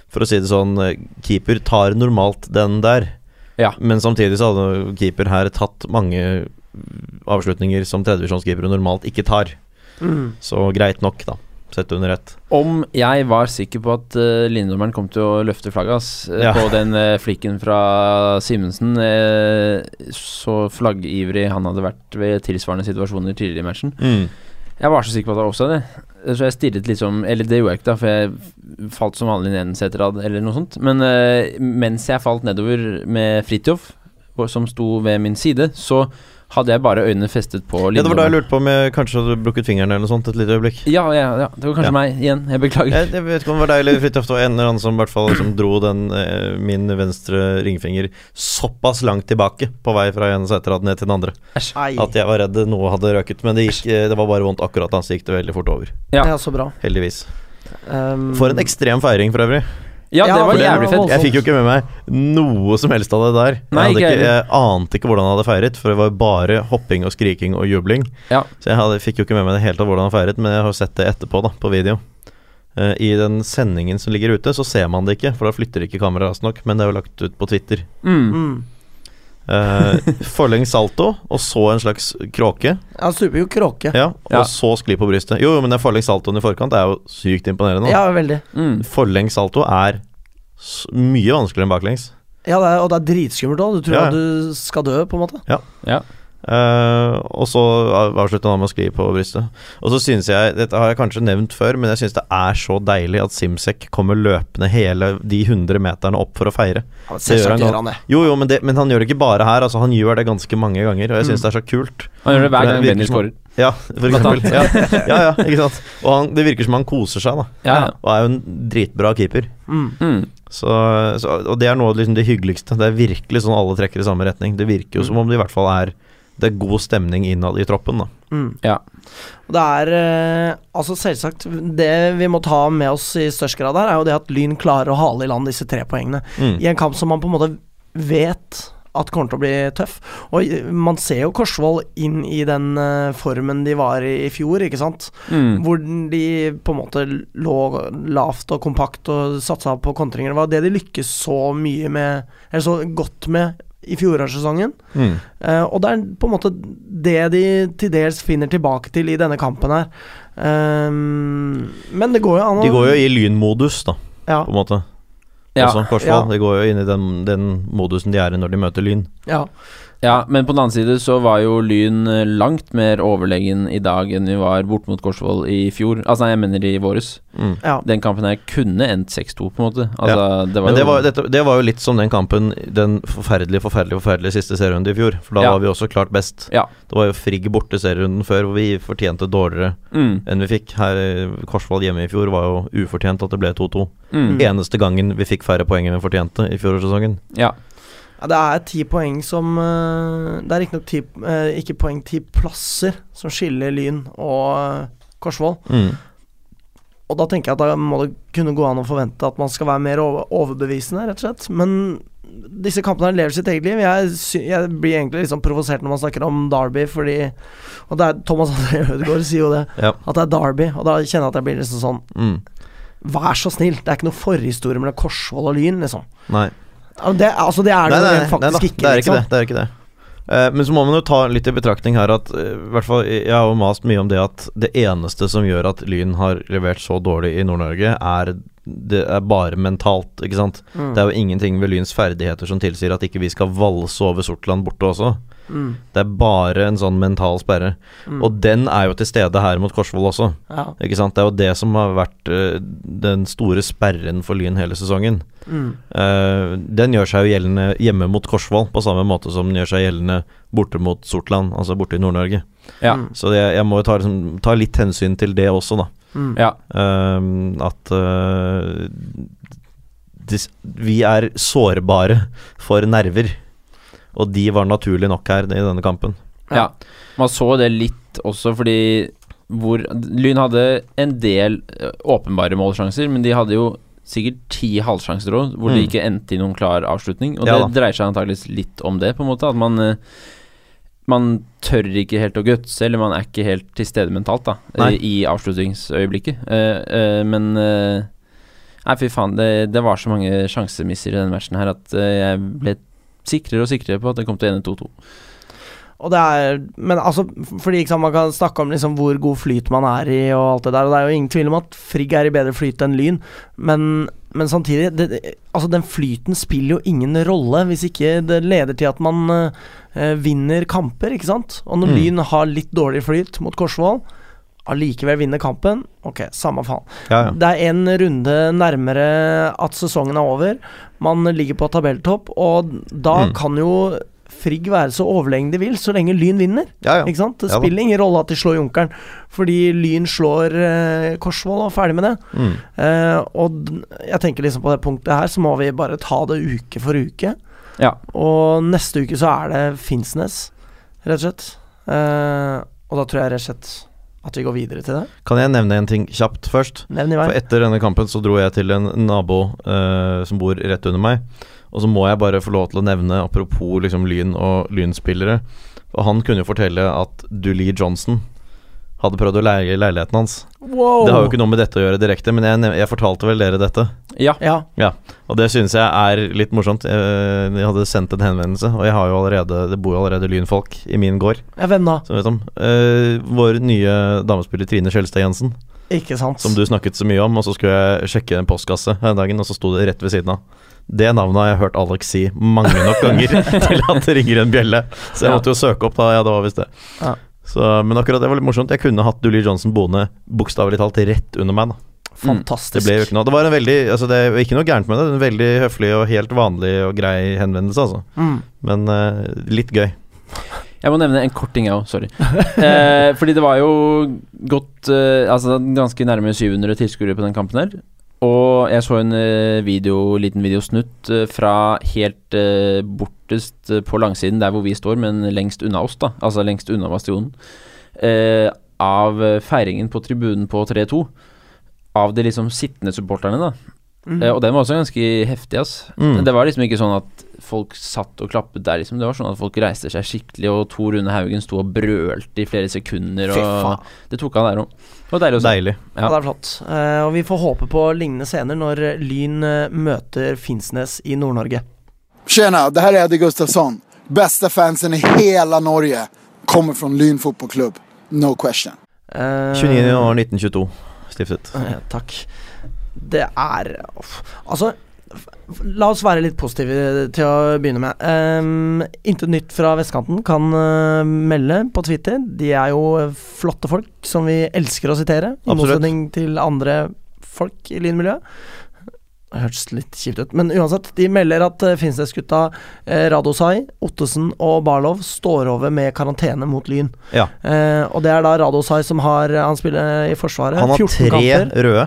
[SPEAKER 3] For å si det sånn, eh, keeper tar normalt den der.
[SPEAKER 2] Ja.
[SPEAKER 3] Men samtidig så hadde keeper her tatt mange mm, avslutninger som tredjevisjonskeepere normalt ikke tar.
[SPEAKER 1] Mm.
[SPEAKER 3] Så greit nok, da. Sett under ett.
[SPEAKER 2] Om jeg var sikker på at uh, linjedommeren kom til å løfte flagget ass, eh,
[SPEAKER 3] Ja.
[SPEAKER 2] på den eh, flikken fra Simensen, eh, så flaggivrig han hadde vært ved tilsvarende situasjoner tidligere i matchen. Jeg var så sikker på at det var offside, jeg. så jeg stirret liksom Eller det gjorde jeg ikke, da, for jeg falt som vanlig ned en seterad eller noe sånt. Men eh, mens jeg falt nedover med Fridtjof, hvor- som sto ved min side, så hadde jeg bare øynene festet på
[SPEAKER 3] Ja, det var da jeg
[SPEAKER 2] linjedommeren.
[SPEAKER 3] lurte på om jeg kanskje hadde brukket fingeren eller noe sånt et lite øyeblikk.
[SPEAKER 2] Ja, ja, ja, det var kanskje
[SPEAKER 3] Ja.
[SPEAKER 2] meg igjen. Jeg beklager.
[SPEAKER 3] Jeg, jeg vet ikke om det var deg eller Fridtjof, det var en eller annen som i hvert fall liksom dro den, eh, min venstre ringfinger såpass langt tilbake på vei fra en seterad ned til den andre
[SPEAKER 1] Nei.
[SPEAKER 3] at jeg var redd noe hadde røket. Men det, gikk, eh, det var bare vondt akkurat da, så gikk det veldig fort over.
[SPEAKER 2] Ja.
[SPEAKER 1] Ja, så bra.
[SPEAKER 3] Heldigvis.
[SPEAKER 1] Um,
[SPEAKER 3] For en ekstrem feiring, for øvrig.
[SPEAKER 2] Ja,
[SPEAKER 1] Ja,
[SPEAKER 2] det var
[SPEAKER 1] for det
[SPEAKER 2] jævlig
[SPEAKER 1] var
[SPEAKER 2] fett.
[SPEAKER 3] Jeg fikk jo ikke med meg noe som helst av det der. Jeg,
[SPEAKER 2] Nei,
[SPEAKER 3] hadde
[SPEAKER 2] ikke
[SPEAKER 3] ikke, jeg
[SPEAKER 2] heller.
[SPEAKER 3] ante ikke hvordan han hadde feiret, for det var bare hopping og skriking og jubling.
[SPEAKER 2] Ja.
[SPEAKER 3] Så jeg hadde, fikk jo ikke med meg det helt av hvordan han feiret, men jeg har sett det etterpå, da, på video. Eh, I den sendingen som ligger ute, så ser man det ikke, for da flytter ikke kameraet raskt nok. Men det er jo lagt ut på Twitter.
[SPEAKER 2] Mm.
[SPEAKER 1] mm.
[SPEAKER 3] Uh, Forlengs salto, og så en slags kråke.
[SPEAKER 1] Han stuper jo kråke.
[SPEAKER 3] Ja,
[SPEAKER 2] Ja.
[SPEAKER 3] Og så skli på brystet. Jo, jo, men den forlengs saltoen i forkant er jo sykt imponerende. da.
[SPEAKER 1] Ja, veldig.
[SPEAKER 2] Mm.
[SPEAKER 3] Forlengs salto er s mye vanskeligere enn baklengs.
[SPEAKER 1] Ja, det er, og det er dritskummelt òg. Du tror
[SPEAKER 3] Ja, ja.
[SPEAKER 1] at du skal dø, på en måte.
[SPEAKER 2] Mm.
[SPEAKER 3] Eh, og så av- avslutta han med å skli på brystet. Og så synes jeg, dette har jeg kanskje nevnt før, men jeg syns det er så deilig at Simsek kommer løpende hele de 100 meterne opp for å feire.
[SPEAKER 1] Ja, men
[SPEAKER 3] Det gjør han
[SPEAKER 1] Selvsagt
[SPEAKER 3] godt.
[SPEAKER 1] gjør han det.
[SPEAKER 3] Jo, jo, men, det, men han gjør det ikke bare her, altså han gjør det ganske mange ganger, og jeg
[SPEAKER 1] Mm.
[SPEAKER 3] syns det er så kult.
[SPEAKER 2] Han gjør det hver
[SPEAKER 3] Det
[SPEAKER 2] gang
[SPEAKER 3] virker
[SPEAKER 2] Benny
[SPEAKER 3] som-
[SPEAKER 2] scorer.
[SPEAKER 3] Ja, for
[SPEAKER 2] Blant
[SPEAKER 3] eksempel. Ja, ja, ja, ikke sant. Og han, det virker som han koser seg, da.
[SPEAKER 2] Ja, ja.
[SPEAKER 3] Og er jo en dritbra keeper.
[SPEAKER 1] Mm.
[SPEAKER 2] Mm.
[SPEAKER 3] Så, så, og det er noe av liksom, det hyggeligste. Det er virkelig sånn alle trekker i samme retning. Det virker
[SPEAKER 1] Mm.
[SPEAKER 3] jo som om det i hvert fall er Det er god stemning innad i troppen, da.
[SPEAKER 1] Mm.
[SPEAKER 2] Ja.
[SPEAKER 1] Og Det er eh, altså selvsagt Det vi må ta med oss i størst grad her, er jo det at Lyn klarer å hale i land disse tre poengene.
[SPEAKER 3] Mm.
[SPEAKER 1] I en kamp som man på en måte vet at kommer til å bli tøff. Og eh, man ser jo Korsvoll inn i den eh, formen de var i i fjor, ikke sant.
[SPEAKER 2] Mm.
[SPEAKER 1] Hvor de på en måte lå lavt og kompakt og satsa på kontringer. Det var det de lykkes så mye med, eller så godt med, i fjorårssesongen.
[SPEAKER 3] Mm.
[SPEAKER 1] Eh, og det er på en måte det de til dels finner tilbake til i denne kampen her. Ehm, men det går jo an å
[SPEAKER 3] De går jo i lynmodus, da,
[SPEAKER 1] ja,
[SPEAKER 3] på en måte. Altså,
[SPEAKER 2] Ja,
[SPEAKER 3] Også Korsvoll.
[SPEAKER 1] Ja.
[SPEAKER 3] De går jo inn i den, den modusen de er i når de møter Lyn.
[SPEAKER 1] ja.
[SPEAKER 2] ja, men på den annen side så var jo Lyn eh, langt mer overlegen i dag enn vi var bort mot Korsvoll i fjor. Altså, nei, jeg mener i våres.
[SPEAKER 3] Mm.
[SPEAKER 1] ja.
[SPEAKER 2] Den kampen her kunne endt 6-2, på en måte. Altså, det var
[SPEAKER 3] Men det
[SPEAKER 2] jo
[SPEAKER 3] var, dette, det var jo litt som den kampen, den forferdelige, forferdelige forferdelige siste serierunden i fjor. For da
[SPEAKER 2] Ja.
[SPEAKER 3] var vi også klart best.
[SPEAKER 2] Ja.
[SPEAKER 3] Det var jo Frigg borte serierunden før, hvor vi fortjente dårligere
[SPEAKER 2] mm.
[SPEAKER 3] enn vi fikk. Her eh, Korsvoll hjemme i fjor var jo ufortjent at det ble 2-2.
[SPEAKER 2] Mm.
[SPEAKER 3] Eneste gangen vi fikk færre poeng enn vi fortjente i fjorårssesongen.
[SPEAKER 2] Ja.
[SPEAKER 1] Ja, Det er ti poeng som eh, Det er riktignok ti eh, Ikke poeng, ti plasser som skiller Lyn og eh, Korsvoll.
[SPEAKER 3] Mm.
[SPEAKER 1] Og da tenker jeg at da må det kunne gå an å forvente at man skal være mer over- overbevisende, rett og slett. Men disse kampene her lever sitt eget liv. Jeg, sy jeg blir egentlig liksom provosert når man snakker om Derby, fordi Og det er Thomas André Ødegaard sier jo det,
[SPEAKER 3] Ja.
[SPEAKER 1] at det er Derby. Og da kjenner jeg at jeg blir liksom sånn
[SPEAKER 3] Mm.
[SPEAKER 1] Vær så snill, det er ikke noe forhistorie mellom Korsvoll og Lyn, liksom.
[SPEAKER 3] Nei.
[SPEAKER 1] Ja, Det, altså, det er det jo rent
[SPEAKER 3] da,
[SPEAKER 1] faktisk ikke,
[SPEAKER 3] det er ikke
[SPEAKER 1] liksom.
[SPEAKER 3] det. det, er ikke det. Eh, men så må man jo ta litt i betraktning her at eh, i hvert fall, Jeg har jo mast mye om det at det eneste som gjør at Lyn har levert så dårlig i Nord-Norge, er det er bare mentalt, ikke sant.
[SPEAKER 1] Mm.
[SPEAKER 3] Det er jo ingenting ved Lyns ferdigheter som tilsier at ikke vi skal valse over Sortland borte også.
[SPEAKER 1] Mm.
[SPEAKER 3] Det er bare en sånn mental sperre. Og den er jo til stede her mot Korsvoll også.
[SPEAKER 1] Ja.
[SPEAKER 3] Ikke sant? Det er jo det som har vært eh, den store sperren for Lyn hele sesongen.
[SPEAKER 1] Mm.
[SPEAKER 3] Eh, den gjør seg jo gjeldende hjemme mot Korsvoll, på samme måte som den gjør seg gjeldende borte mot Sortland, altså borte i Nord-Norge.
[SPEAKER 2] Ja.
[SPEAKER 1] Mm.
[SPEAKER 3] Så jeg, jeg må jo ta, liksom, ta litt hensyn til det også, da.
[SPEAKER 1] Mm.
[SPEAKER 2] Ja.
[SPEAKER 3] Eh, at eh, dis, vi er sårbare for nerver. Og de var naturlig nok her i denne kampen.
[SPEAKER 2] Ja. Man så det litt også fordi hvor Lyn hadde en del eh, åpenbare målsjanser, men de hadde jo sikkert ti halvsjanser òg, hvor det
[SPEAKER 3] Mm.
[SPEAKER 2] ikke endte i noen klar avslutning. Og
[SPEAKER 3] Ja
[SPEAKER 2] det dreier seg antakeligvis litt om det, på en måte. At man eh, man tør ikke helt å gutse, eller man er ikke helt til stede mentalt, da, eh,
[SPEAKER 3] Nei.
[SPEAKER 2] i, i avslutningsøyeblikket. Eh, eh, men eh, Nei, fy faen, det, det var så mange sjansemisser i denne matchen her at eh, jeg ble sikrere og sikrere på at det kom til å ende 2-2.
[SPEAKER 1] Og det er Men altså, fordi ikke sant, man kan snakke om liksom hvor god flyt man er i og alt det der, og det er jo ingen tvil om at Frigg er i bedre flyt enn Lyn, men, men samtidig det, det- Altså, den flyten spiller jo ingen rolle hvis ikke det leder til at man eh, eh, vinner kamper, ikke sant? Og når
[SPEAKER 3] Mm.
[SPEAKER 1] Lyn har litt dårlig flyt mot Korsvoll, allikevel vinner kampen, ok, samme faen.
[SPEAKER 3] Ja, ja.
[SPEAKER 1] Det er en runde nærmere at sesongen er over. Man ligger på tabelltopp, og da
[SPEAKER 3] Mm.
[SPEAKER 1] kan jo Frigg være så overlegen de vil, så lenge Lyn vinner.
[SPEAKER 3] ja, ja.
[SPEAKER 1] Ikke sant? Det
[SPEAKER 3] Ja da.
[SPEAKER 1] spiller ingen rolle at de slår Junkeren, fordi Lyn slår eh, Korsvoll og ferdig med det.
[SPEAKER 3] Mm.
[SPEAKER 1] Eh, og d- jeg tenker liksom på det punktet her, så må vi bare ta det uke for uke.
[SPEAKER 2] Ja.
[SPEAKER 1] Og neste uke så er det Finnsnes, rett og slett. Eh, og da tror jeg rett og slett at vi går videre til det.
[SPEAKER 3] Kan jeg nevne en ting kjapt først?
[SPEAKER 1] Nevn i vei.
[SPEAKER 3] For etter denne kampen så dro jeg til en nabo eh, som bor rett under meg. Og så må jeg bare få lov til å nevne, apropos liksom Lyn og Lynspillere Og han kunne jo fortelle at Dulee Johnson hadde prøvd å leie leiligheten hans.
[SPEAKER 1] Wow!
[SPEAKER 3] Det har jo ikke noe med dette å gjøre direkte, men jeg, nev- jeg fortalte vel dere dette.
[SPEAKER 2] Ja.
[SPEAKER 1] ja.
[SPEAKER 3] Og det synes jeg er litt morsomt. Eh, Jeg hadde sendt en henvendelse, og jeg har jo allerede, det bor jo allerede lynfolk i min gård.
[SPEAKER 1] Ja, hvem da?
[SPEAKER 3] Som jeg vet om. Eh, vår nye damespiller Trine Skjelstad Jensen.
[SPEAKER 1] Ikke sant?
[SPEAKER 3] Som du snakket så mye om, og så skulle jeg sjekke en postkasse den dagen, og så sto det rett ved siden av. Det navnet har jeg hørt Alex si mange nok ganger til at det ringer en bjelle. Så jeg
[SPEAKER 2] Ja.
[SPEAKER 3] måtte jo søke opp, da. Ja, det var visst det.
[SPEAKER 1] Ja.
[SPEAKER 3] Så, men akkurat det var litt morsomt. Jeg kunne hatt Dulie Johnson boende bokstavelig talt rett under meg. da
[SPEAKER 1] Fantastisk.
[SPEAKER 3] mm, Det ble jo ikke noe Det var en veldig altså det er jo ikke noe gærent med det. En veldig høflig og helt vanlig og grei henvendelse, altså.
[SPEAKER 1] Mm.
[SPEAKER 3] Men eh, litt gøy.
[SPEAKER 2] Jeg må nevne en kort ting, jeg òg. Sorry. Eh, fordi det var jo godt eh, Altså ganske nærme 700 tilskuere på den kampen her. Og jeg så en eh, video, liten videosnutt eh, fra helt eh, bortest eh, på langsiden, der hvor vi står, men lengst unna oss, da. Altså lengst unna bastionen. Eh, av eh, feiringen på tribunen på 3-2. Av de liksom sittende supporterne, da.
[SPEAKER 1] Mm.
[SPEAKER 2] Eh, og den var også ganske heftig, ass.
[SPEAKER 3] Mm.
[SPEAKER 2] Det var liksom ikke sånn at folk satt og klappet der, liksom. Det var sånn at folk reiste seg skikkelig, og Tor Rune Haugen sto og brølte i flere sekunder,
[SPEAKER 1] Fy faen.
[SPEAKER 2] og det tok han der òg. Det var deilig å se.
[SPEAKER 3] Deilig.
[SPEAKER 1] Ja. det er flott. Eh, og vi får håpe på lignende scener når Lyn eh, møter Finnsnes i Nord-Norge.
[SPEAKER 6] Tjena, det här är Eddie Gustafsson. Bästa fansen i hela Norge. Kommer från Lyn fotbollsklubb. No question.
[SPEAKER 1] Eh,
[SPEAKER 3] 29.01.1922 stiftet.
[SPEAKER 1] eh, takk. Det er uff. Altså, f- f- la oss være litt positive til å begynne med. Um, Intet nytt fra vestkanten kan eh, melde på Twitter. De er jo flotte folk som vi elsker å sitere, i
[SPEAKER 3] Absolutt.
[SPEAKER 1] motsetning til andre folk i lynmiljøet. Det hørtes litt kjipt ut, men uansett. De melder at eh, Finnsnes-gutta eh, Radosai, Ottesen og Barlov står over med karantene mot Lyn.
[SPEAKER 3] Ja.
[SPEAKER 1] Eh, og det er da Radosai som har Han spiller i Forsvaret.
[SPEAKER 3] Han har
[SPEAKER 1] 14
[SPEAKER 3] tre
[SPEAKER 1] kamper.
[SPEAKER 3] røde.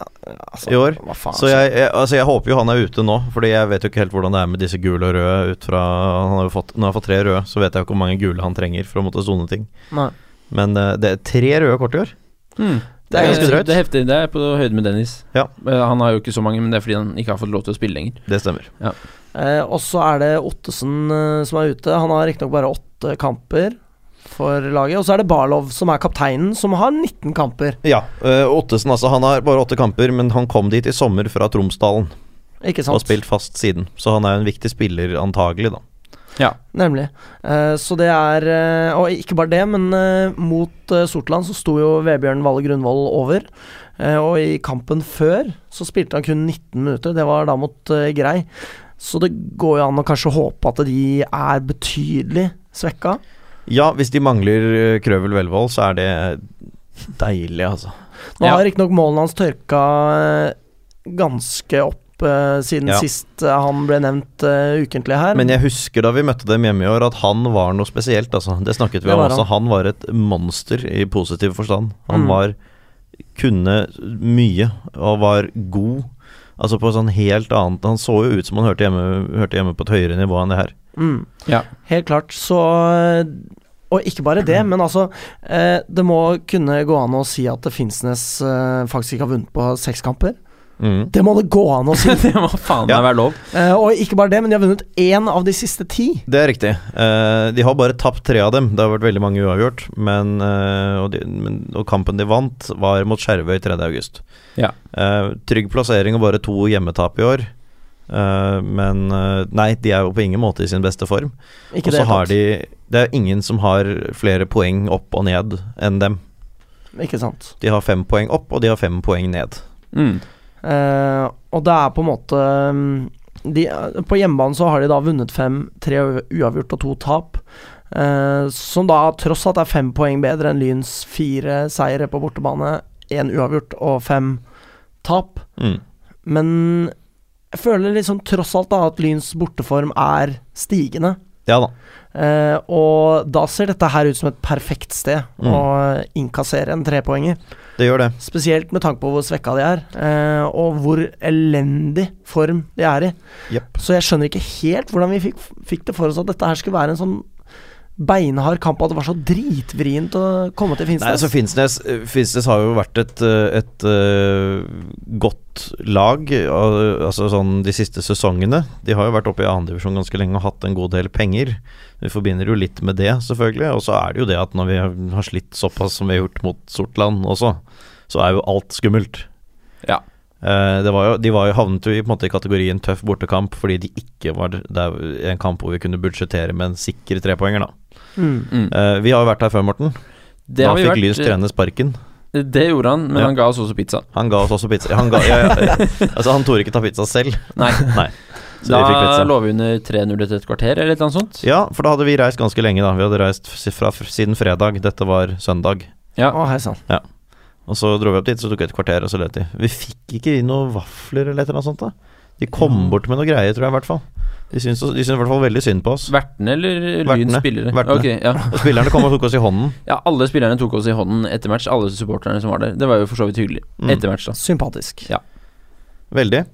[SPEAKER 1] Altså,
[SPEAKER 3] i år.
[SPEAKER 1] Hva faen?
[SPEAKER 3] Så jeg, jeg, altså jeg håper jo han er ute nå, Fordi jeg vet jo ikke helt hvordan det er med disse gule og røde. Ut fra, han har jo fått, når han har fått tre røde, så vet jeg jo ikke hvor mange gule han trenger for å måtte sone ting.
[SPEAKER 1] Nei.
[SPEAKER 3] Men eh, det er tre røde kort i år.
[SPEAKER 2] Mm.
[SPEAKER 3] Det er ganske drøyt.
[SPEAKER 2] Det er heftig. Det er på høyde med Dennis.
[SPEAKER 3] Ja.
[SPEAKER 2] Eh, Han har jo ikke så mange, men det er fordi han ikke har fått lov til å spille lenger.
[SPEAKER 3] Det stemmer.
[SPEAKER 1] Eh, og så er det Ottesen eh, som er ute. Han har riktignok bare åtte kamper for laget. Og så er det Barlov som er kapteinen, som har 19 kamper.
[SPEAKER 3] Ja, eh, Ottesen altså, han har bare åtte kamper, men han kom dit i sommer fra Tromsdalen
[SPEAKER 1] Ikke
[SPEAKER 3] og har
[SPEAKER 1] sant?
[SPEAKER 3] spilt fast siden. Så han er jo en viktig spiller, antagelig, da.
[SPEAKER 2] Ja.
[SPEAKER 1] Nemlig. Eh, så det er eh, Og ikke bare det, men eh, mot eh, Sortland så sto jo Vebjørn Valle Grunvoll over. Eh, og i kampen før så spilte han kun 19 minutter. Det var da mot eh, Grei. Så det går jo an å kanskje håpe at de er betydelig svekka.
[SPEAKER 3] Ja, hvis de mangler eh, Krøvel Velvold, så er det deilig, altså.
[SPEAKER 1] Nå
[SPEAKER 2] Ja.
[SPEAKER 1] har riktignok målene hans tørka eh, ganske opp eh, siden
[SPEAKER 3] Ja.
[SPEAKER 1] sist eh, han ble nevnt eh, ukentlig her.
[SPEAKER 3] Men jeg husker da vi møtte dem hjemme i år, at han var noe spesielt, altså. Det snakket vi
[SPEAKER 1] Det
[SPEAKER 3] om
[SPEAKER 1] var
[SPEAKER 3] også. Han var et monster i positiv forstand. Han
[SPEAKER 1] Mm.
[SPEAKER 3] var kunne mye og var god. Altså på sånn helt annet Han så jo ut som han hørte hjemme, hørte hjemme på et høyere nivå enn det her.
[SPEAKER 1] mm.
[SPEAKER 2] Ja.
[SPEAKER 1] Helt klart. Så eh, Og ikke bare
[SPEAKER 3] Mm.
[SPEAKER 1] det, men altså eh, Det må kunne gå an å si at Finnsnes eh, faktisk ikke har vunnet på seks kamper.
[SPEAKER 3] Mm.
[SPEAKER 1] Det må det gå an å si!
[SPEAKER 2] det må faen meg
[SPEAKER 3] Ja.
[SPEAKER 2] være lov.
[SPEAKER 1] Eh, og ikke bare det, men de har vunnet én av de siste ti.
[SPEAKER 3] Det er riktig. Eh, de har bare tapt tre av dem. Det har vært veldig mange uavgjort. Men, eh, og, de, men, og kampen de vant, var mot Skjervøy 3.8.
[SPEAKER 2] Ja.
[SPEAKER 3] Eh, trygg plassering og bare to hjemmetap i år. Eh, men eh, nei, de er jo på ingen måte i sin beste form.
[SPEAKER 1] Ikke
[SPEAKER 3] Og
[SPEAKER 1] det
[SPEAKER 3] så
[SPEAKER 1] hele
[SPEAKER 3] har
[SPEAKER 1] tatt.
[SPEAKER 3] de Det er ingen som har flere poeng opp og ned enn dem.
[SPEAKER 1] Ikke sant.
[SPEAKER 3] De har fem poeng opp, og de har fem poeng ned.
[SPEAKER 2] Mm.
[SPEAKER 1] Eh, og det er på en måte mm, de, På hjemmebane så har de da vunnet fem, tre u- uavgjort og to tap. eh, som da tross alt er fem poeng bedre enn Lyns fire seire på bortebane, én uavgjort og fem tap.
[SPEAKER 3] Mm.
[SPEAKER 1] Men jeg føler liksom tross alt da at Lyns borteform er stigende.
[SPEAKER 3] Ja da.
[SPEAKER 1] Eh, og da ser dette her ut som et perfekt sted
[SPEAKER 3] Mm.
[SPEAKER 1] å innkassere en trepoenger.
[SPEAKER 3] Det gjør det.
[SPEAKER 1] Spesielt med tanke på hvor svekka de er, eh, og hvor elendig form de er i.
[SPEAKER 3] Jepp.
[SPEAKER 1] Så jeg skjønner ikke helt hvordan vi fikk, fikk det for oss at dette her skulle være en sånn beinhard kamp, at det var så dritvrient å komme til
[SPEAKER 3] Nei, altså
[SPEAKER 1] Finnsnes.
[SPEAKER 3] Finnsnes, Finnsnes har jo vært et, eh, et eh, godt lag eh, altså sånn de siste sesongene. De har jo vært oppe i annendivisjon ganske lenge og hatt en god del penger. Vi forbinder jo litt med det, selvfølgelig. Og så er det jo det at når vi har- har slitt såpass som vi har gjort mot Sortland også, så er jo alt skummelt.
[SPEAKER 2] Ja.
[SPEAKER 3] Eh, det var jo, de var jo, havnet jo i, på en måte, i kategorien tøff bortekamp fordi de ikke var der, en kamp hvor vi kunne budsjettere med en sikker trepoenger, da.
[SPEAKER 1] Mm.
[SPEAKER 2] Mm.
[SPEAKER 3] Eh, vi har jo vært her før, Morten.
[SPEAKER 2] Det,
[SPEAKER 3] da
[SPEAKER 2] har vi vært-
[SPEAKER 3] fikk
[SPEAKER 2] Eh,
[SPEAKER 3] Lyns trene sparken.
[SPEAKER 2] det gjorde han, men
[SPEAKER 3] Ja.
[SPEAKER 2] han ga oss også pizza.
[SPEAKER 3] Han ga oss også pizza. Han, ga, ja, ja, ja. Altså, han torde ikke ta pizza selv,
[SPEAKER 2] Nei,
[SPEAKER 3] så vi fikk
[SPEAKER 2] da
[SPEAKER 3] pizza.
[SPEAKER 2] lå vi under 3-0 etter et kvarter, eller et eller annet sånt.
[SPEAKER 3] Ja, for da hadde vi reist ganske lenge, da. Vi hadde reist f- fra f- siden fredag. Dette var søndag.
[SPEAKER 2] Ja.
[SPEAKER 1] Å, hei sann.
[SPEAKER 3] Og så dro vi opp dit, så tok vi et kvarter, og så løp de. Vi fikk ikke inn noen vafler eller et eller annet sånt, da. De kom bort med noe greie, tror jeg, i hvert fall. De syntes, de syntes i hvert fall veldig synd på oss.
[SPEAKER 2] Vertene eller Lyns
[SPEAKER 3] Vertene.
[SPEAKER 2] spillere?
[SPEAKER 3] Vertene.
[SPEAKER 2] Ok, ja.
[SPEAKER 3] Og spillerne kom og tok oss i hånden.
[SPEAKER 2] ja, alle spillerne tok oss i hånden etter match, alle supporterne som var der. Det var jo for så vidt hyggelig.
[SPEAKER 3] Mm.
[SPEAKER 2] Etter match, da.
[SPEAKER 1] Sympatisk.
[SPEAKER 3] Veldig.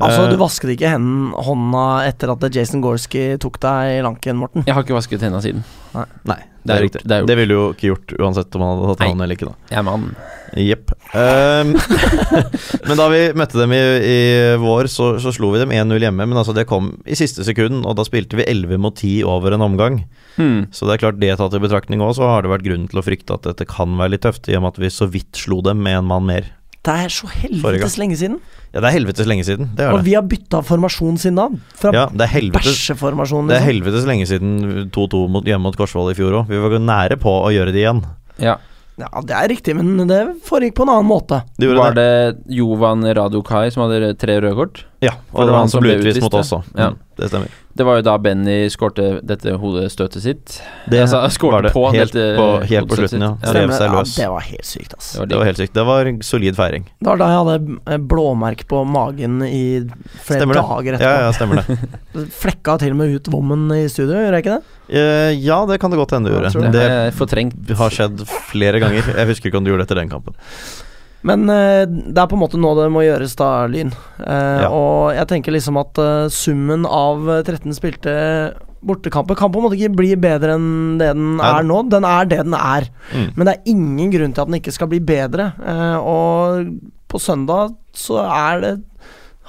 [SPEAKER 1] Altså,
[SPEAKER 3] Eh,
[SPEAKER 1] du vasket ikke hendene, hånda etter at Jason Gorski tok deg i lanken, Morten.
[SPEAKER 2] Jeg har ikke vasket hendene siden.
[SPEAKER 3] Nei,
[SPEAKER 2] Det er
[SPEAKER 3] det, er
[SPEAKER 2] gjort,
[SPEAKER 3] riktig.
[SPEAKER 2] det er gjort.
[SPEAKER 3] det ville jo ikke gjort uansett om han hadde tatt
[SPEAKER 2] Nei.
[SPEAKER 3] hånden eller ikke, da.
[SPEAKER 2] Jeg er mann.
[SPEAKER 3] Jepp. Ehm, men da vi møtte dem i, i vår, så, så slo vi dem 1-0 hjemme. Men altså det kom i siste sekund, og da spilte vi 11 mot 10 over en omgang.
[SPEAKER 2] Hmm.
[SPEAKER 3] Så det er klart det tatt i betraktning òg, så har det vært grunn til å frykte at dette kan være litt tøft, i og med at vi så vidt slo dem med en mann mer.
[SPEAKER 1] Det er så
[SPEAKER 3] Forrige gang.
[SPEAKER 1] helvetes lenge siden.
[SPEAKER 3] Ja, det er helvetes lenge siden. Det
[SPEAKER 1] Og
[SPEAKER 3] er det.
[SPEAKER 1] vi har bytta formasjon siden da. Fra
[SPEAKER 3] Ja, det er helvetes
[SPEAKER 1] bæsjeformasjon.
[SPEAKER 3] det er
[SPEAKER 1] Liksom.
[SPEAKER 3] helvetes lenge siden 2-2 mot, hjemme mot Korsvoll i fjor òg. Vi var nære på å gjøre det igjen.
[SPEAKER 2] Ja.
[SPEAKER 1] ja, det er riktig, men det foregikk på en annen måte.
[SPEAKER 3] Det gjorde
[SPEAKER 2] Var det Jovan Radukai som hadde tre røde kort?
[SPEAKER 3] Ja, og det var han som ble utvist mot
[SPEAKER 2] ja.
[SPEAKER 3] oss òg.
[SPEAKER 2] Ja.
[SPEAKER 3] Mm, det stemmer.
[SPEAKER 2] Det var jo da Benny skårte dette hodestøtet sitt.
[SPEAKER 3] Det
[SPEAKER 2] Altså, skårte
[SPEAKER 3] var det
[SPEAKER 2] på
[SPEAKER 3] helt,
[SPEAKER 2] dette
[SPEAKER 3] på, helt på
[SPEAKER 2] hodestøtet
[SPEAKER 3] slutten, ja.
[SPEAKER 2] sitt.
[SPEAKER 3] Rev
[SPEAKER 1] eh, Stemmer.
[SPEAKER 3] seg
[SPEAKER 1] Ja,
[SPEAKER 3] løs.
[SPEAKER 1] det var helt sykt, ass.
[SPEAKER 2] Det var
[SPEAKER 3] Det var
[SPEAKER 2] digg.
[SPEAKER 3] helt sykt. Det var en solid feiring.
[SPEAKER 1] Det var da jeg hadde eh, blåmerke på magen i flere
[SPEAKER 3] Stemmer det.
[SPEAKER 1] dager
[SPEAKER 3] Ja,
[SPEAKER 1] etterpå.
[SPEAKER 3] ja, stemmer det.
[SPEAKER 1] Flekka til og med ut vommen i studio, gjorde jeg ikke det?
[SPEAKER 3] Eh, ja, det kan det godt hende du
[SPEAKER 1] Ja,
[SPEAKER 3] gjorde.
[SPEAKER 1] tror
[SPEAKER 2] Det
[SPEAKER 3] Det
[SPEAKER 2] har jeg fortrengt.
[SPEAKER 3] har skjedd flere ganger. Jeg husker ikke om du gjorde det etter den kampen.
[SPEAKER 1] Men eh, det er på en måte nå det må gjøres, da, Lyn. Eh,
[SPEAKER 3] Ja.
[SPEAKER 1] Og jeg tenker liksom at eh, summen av eh, 13 spilte bortekamper kan på en måte ikke bli bedre enn det den
[SPEAKER 3] Nei.
[SPEAKER 1] er nå. Den er det den er.
[SPEAKER 3] Mm.
[SPEAKER 1] Men det er ingen grunn til at den ikke skal bli bedre. Eh, og på søndag så er det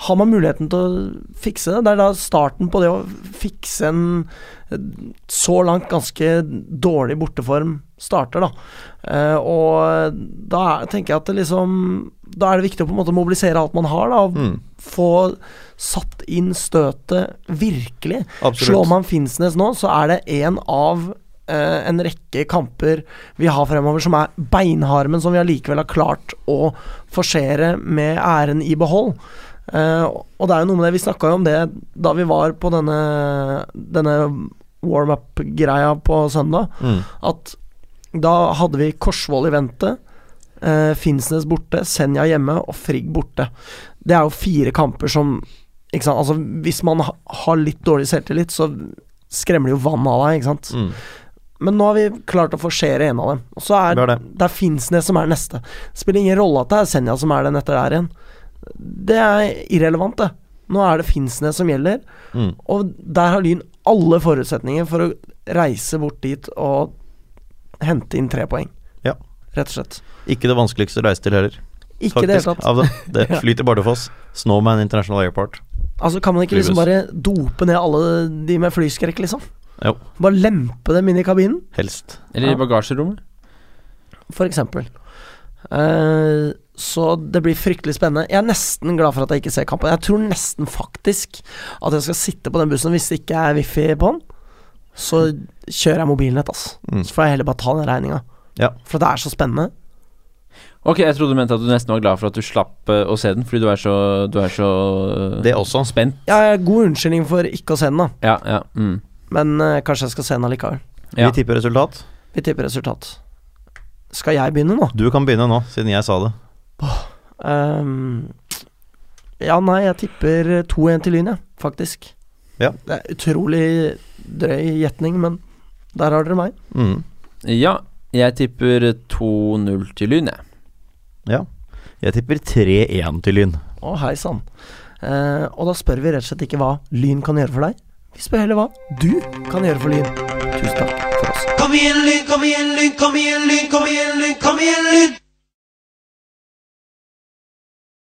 [SPEAKER 1] har man muligheten til å fikse det? Det er da starten på det å fikse en eh, så langt ganske dårlig borteform starter, da. Eh, og da er, tenker jeg at det liksom Da er det viktig å på en måte mobilisere alt man har, da. Og
[SPEAKER 3] Mm.
[SPEAKER 1] få satt inn støtet virkelig.
[SPEAKER 3] Absolutt.
[SPEAKER 1] Slår man Finnsnes nå, så er det én av eh, en rekke kamper vi har fremover som er beinharde, men som vi allikevel har klart å forsere med æren i behold. Eh, og det er jo noe med det, vi snakka jo om det da vi var på denne, denne warm-up-greia på søndag,
[SPEAKER 3] Mm.
[SPEAKER 1] at da hadde vi Korsvoll i vente. eh, Finnsnes borte, Senja hjemme og Frigg borte. Det er jo fire kamper som ikke sant? Altså, Hvis man ha, har litt dårlig selvtillit, så skremmer det jo vann av deg. Ikke sant?
[SPEAKER 3] Mm.
[SPEAKER 1] Men nå har vi klart å forsere en av dem. Og så er
[SPEAKER 3] Vi har
[SPEAKER 1] det.
[SPEAKER 3] det.
[SPEAKER 1] er Finnsnes som er neste. Spiller ingen rolle at det er Senja som er den etter der igjen. Det er irrelevant, det. Nå er det Finnsnes som gjelder.
[SPEAKER 3] Mm.
[SPEAKER 1] Og der har Lyn alle forutsetninger for å reise bort dit og hente inn tre poeng.
[SPEAKER 3] Ja.
[SPEAKER 1] Rett og slett.
[SPEAKER 3] Ikke det vanskeligste å reise til heller.
[SPEAKER 1] Ikke i det hele
[SPEAKER 3] faktisk,
[SPEAKER 1] tatt.
[SPEAKER 3] Av det. det flyter Bardufoss. Snowman International Airport.
[SPEAKER 1] Altså, kan man ikke liksom bare dope ned alle de med flyskrekk, liksom?
[SPEAKER 3] Jo.
[SPEAKER 1] Bare lempe dem inn i kabinen,
[SPEAKER 3] Helst.
[SPEAKER 2] Eller
[SPEAKER 1] Ja.
[SPEAKER 2] i bagasjerommet.
[SPEAKER 1] for eksempel. Eh, så det blir fryktelig spennende. Jeg er nesten glad for at jeg ikke ser kampen. Jeg tror nesten faktisk at jeg skal sitte på den bussen hvis det ikke er wifi på den. Så kjører jeg mobilnett, ass.
[SPEAKER 3] Mm.
[SPEAKER 1] Så får jeg heller bare ta den regninga.
[SPEAKER 3] Ja.
[SPEAKER 1] For det er så spennende.
[SPEAKER 2] Ok, jeg trodde du mente at du nesten var glad for at du slapp eh, å se den, fordi du er så, du er så eh,
[SPEAKER 3] Det også.
[SPEAKER 2] spent.
[SPEAKER 1] Ja, jeg har god unnskyldning for ikke å se den, da.
[SPEAKER 2] Ja, ja. Mm.
[SPEAKER 1] Men eh, kanskje jeg skal se den allikevel.
[SPEAKER 2] Ja.
[SPEAKER 3] Vi tipper resultat.
[SPEAKER 1] Vi tipper resultat. Skal jeg begynne nå?
[SPEAKER 3] Du kan begynne nå, siden jeg sa det.
[SPEAKER 1] Ehm, ja, nei, jeg tipper 2-1 til Lyn, jeg, faktisk.
[SPEAKER 3] Ja.
[SPEAKER 1] Det er utrolig drøy gjetning, men der har dere meg.
[SPEAKER 3] Mm.
[SPEAKER 2] ja, jeg tipper 2-0 til Lyn, jeg.
[SPEAKER 3] Jeg tipper 3-1 til Lyn.
[SPEAKER 1] Å, hei sann. Eh, og da spør vi rett og slett ikke hva Lyn kan gjøre for deg, vi spør heller hva du kan gjøre for Lyn. Tusen takk for oss.
[SPEAKER 5] Kom igjen, Lyn, kom igjen, Lyn, kom igjen, Lyn, kom igjen, Lyn, kom igjen, Lyn!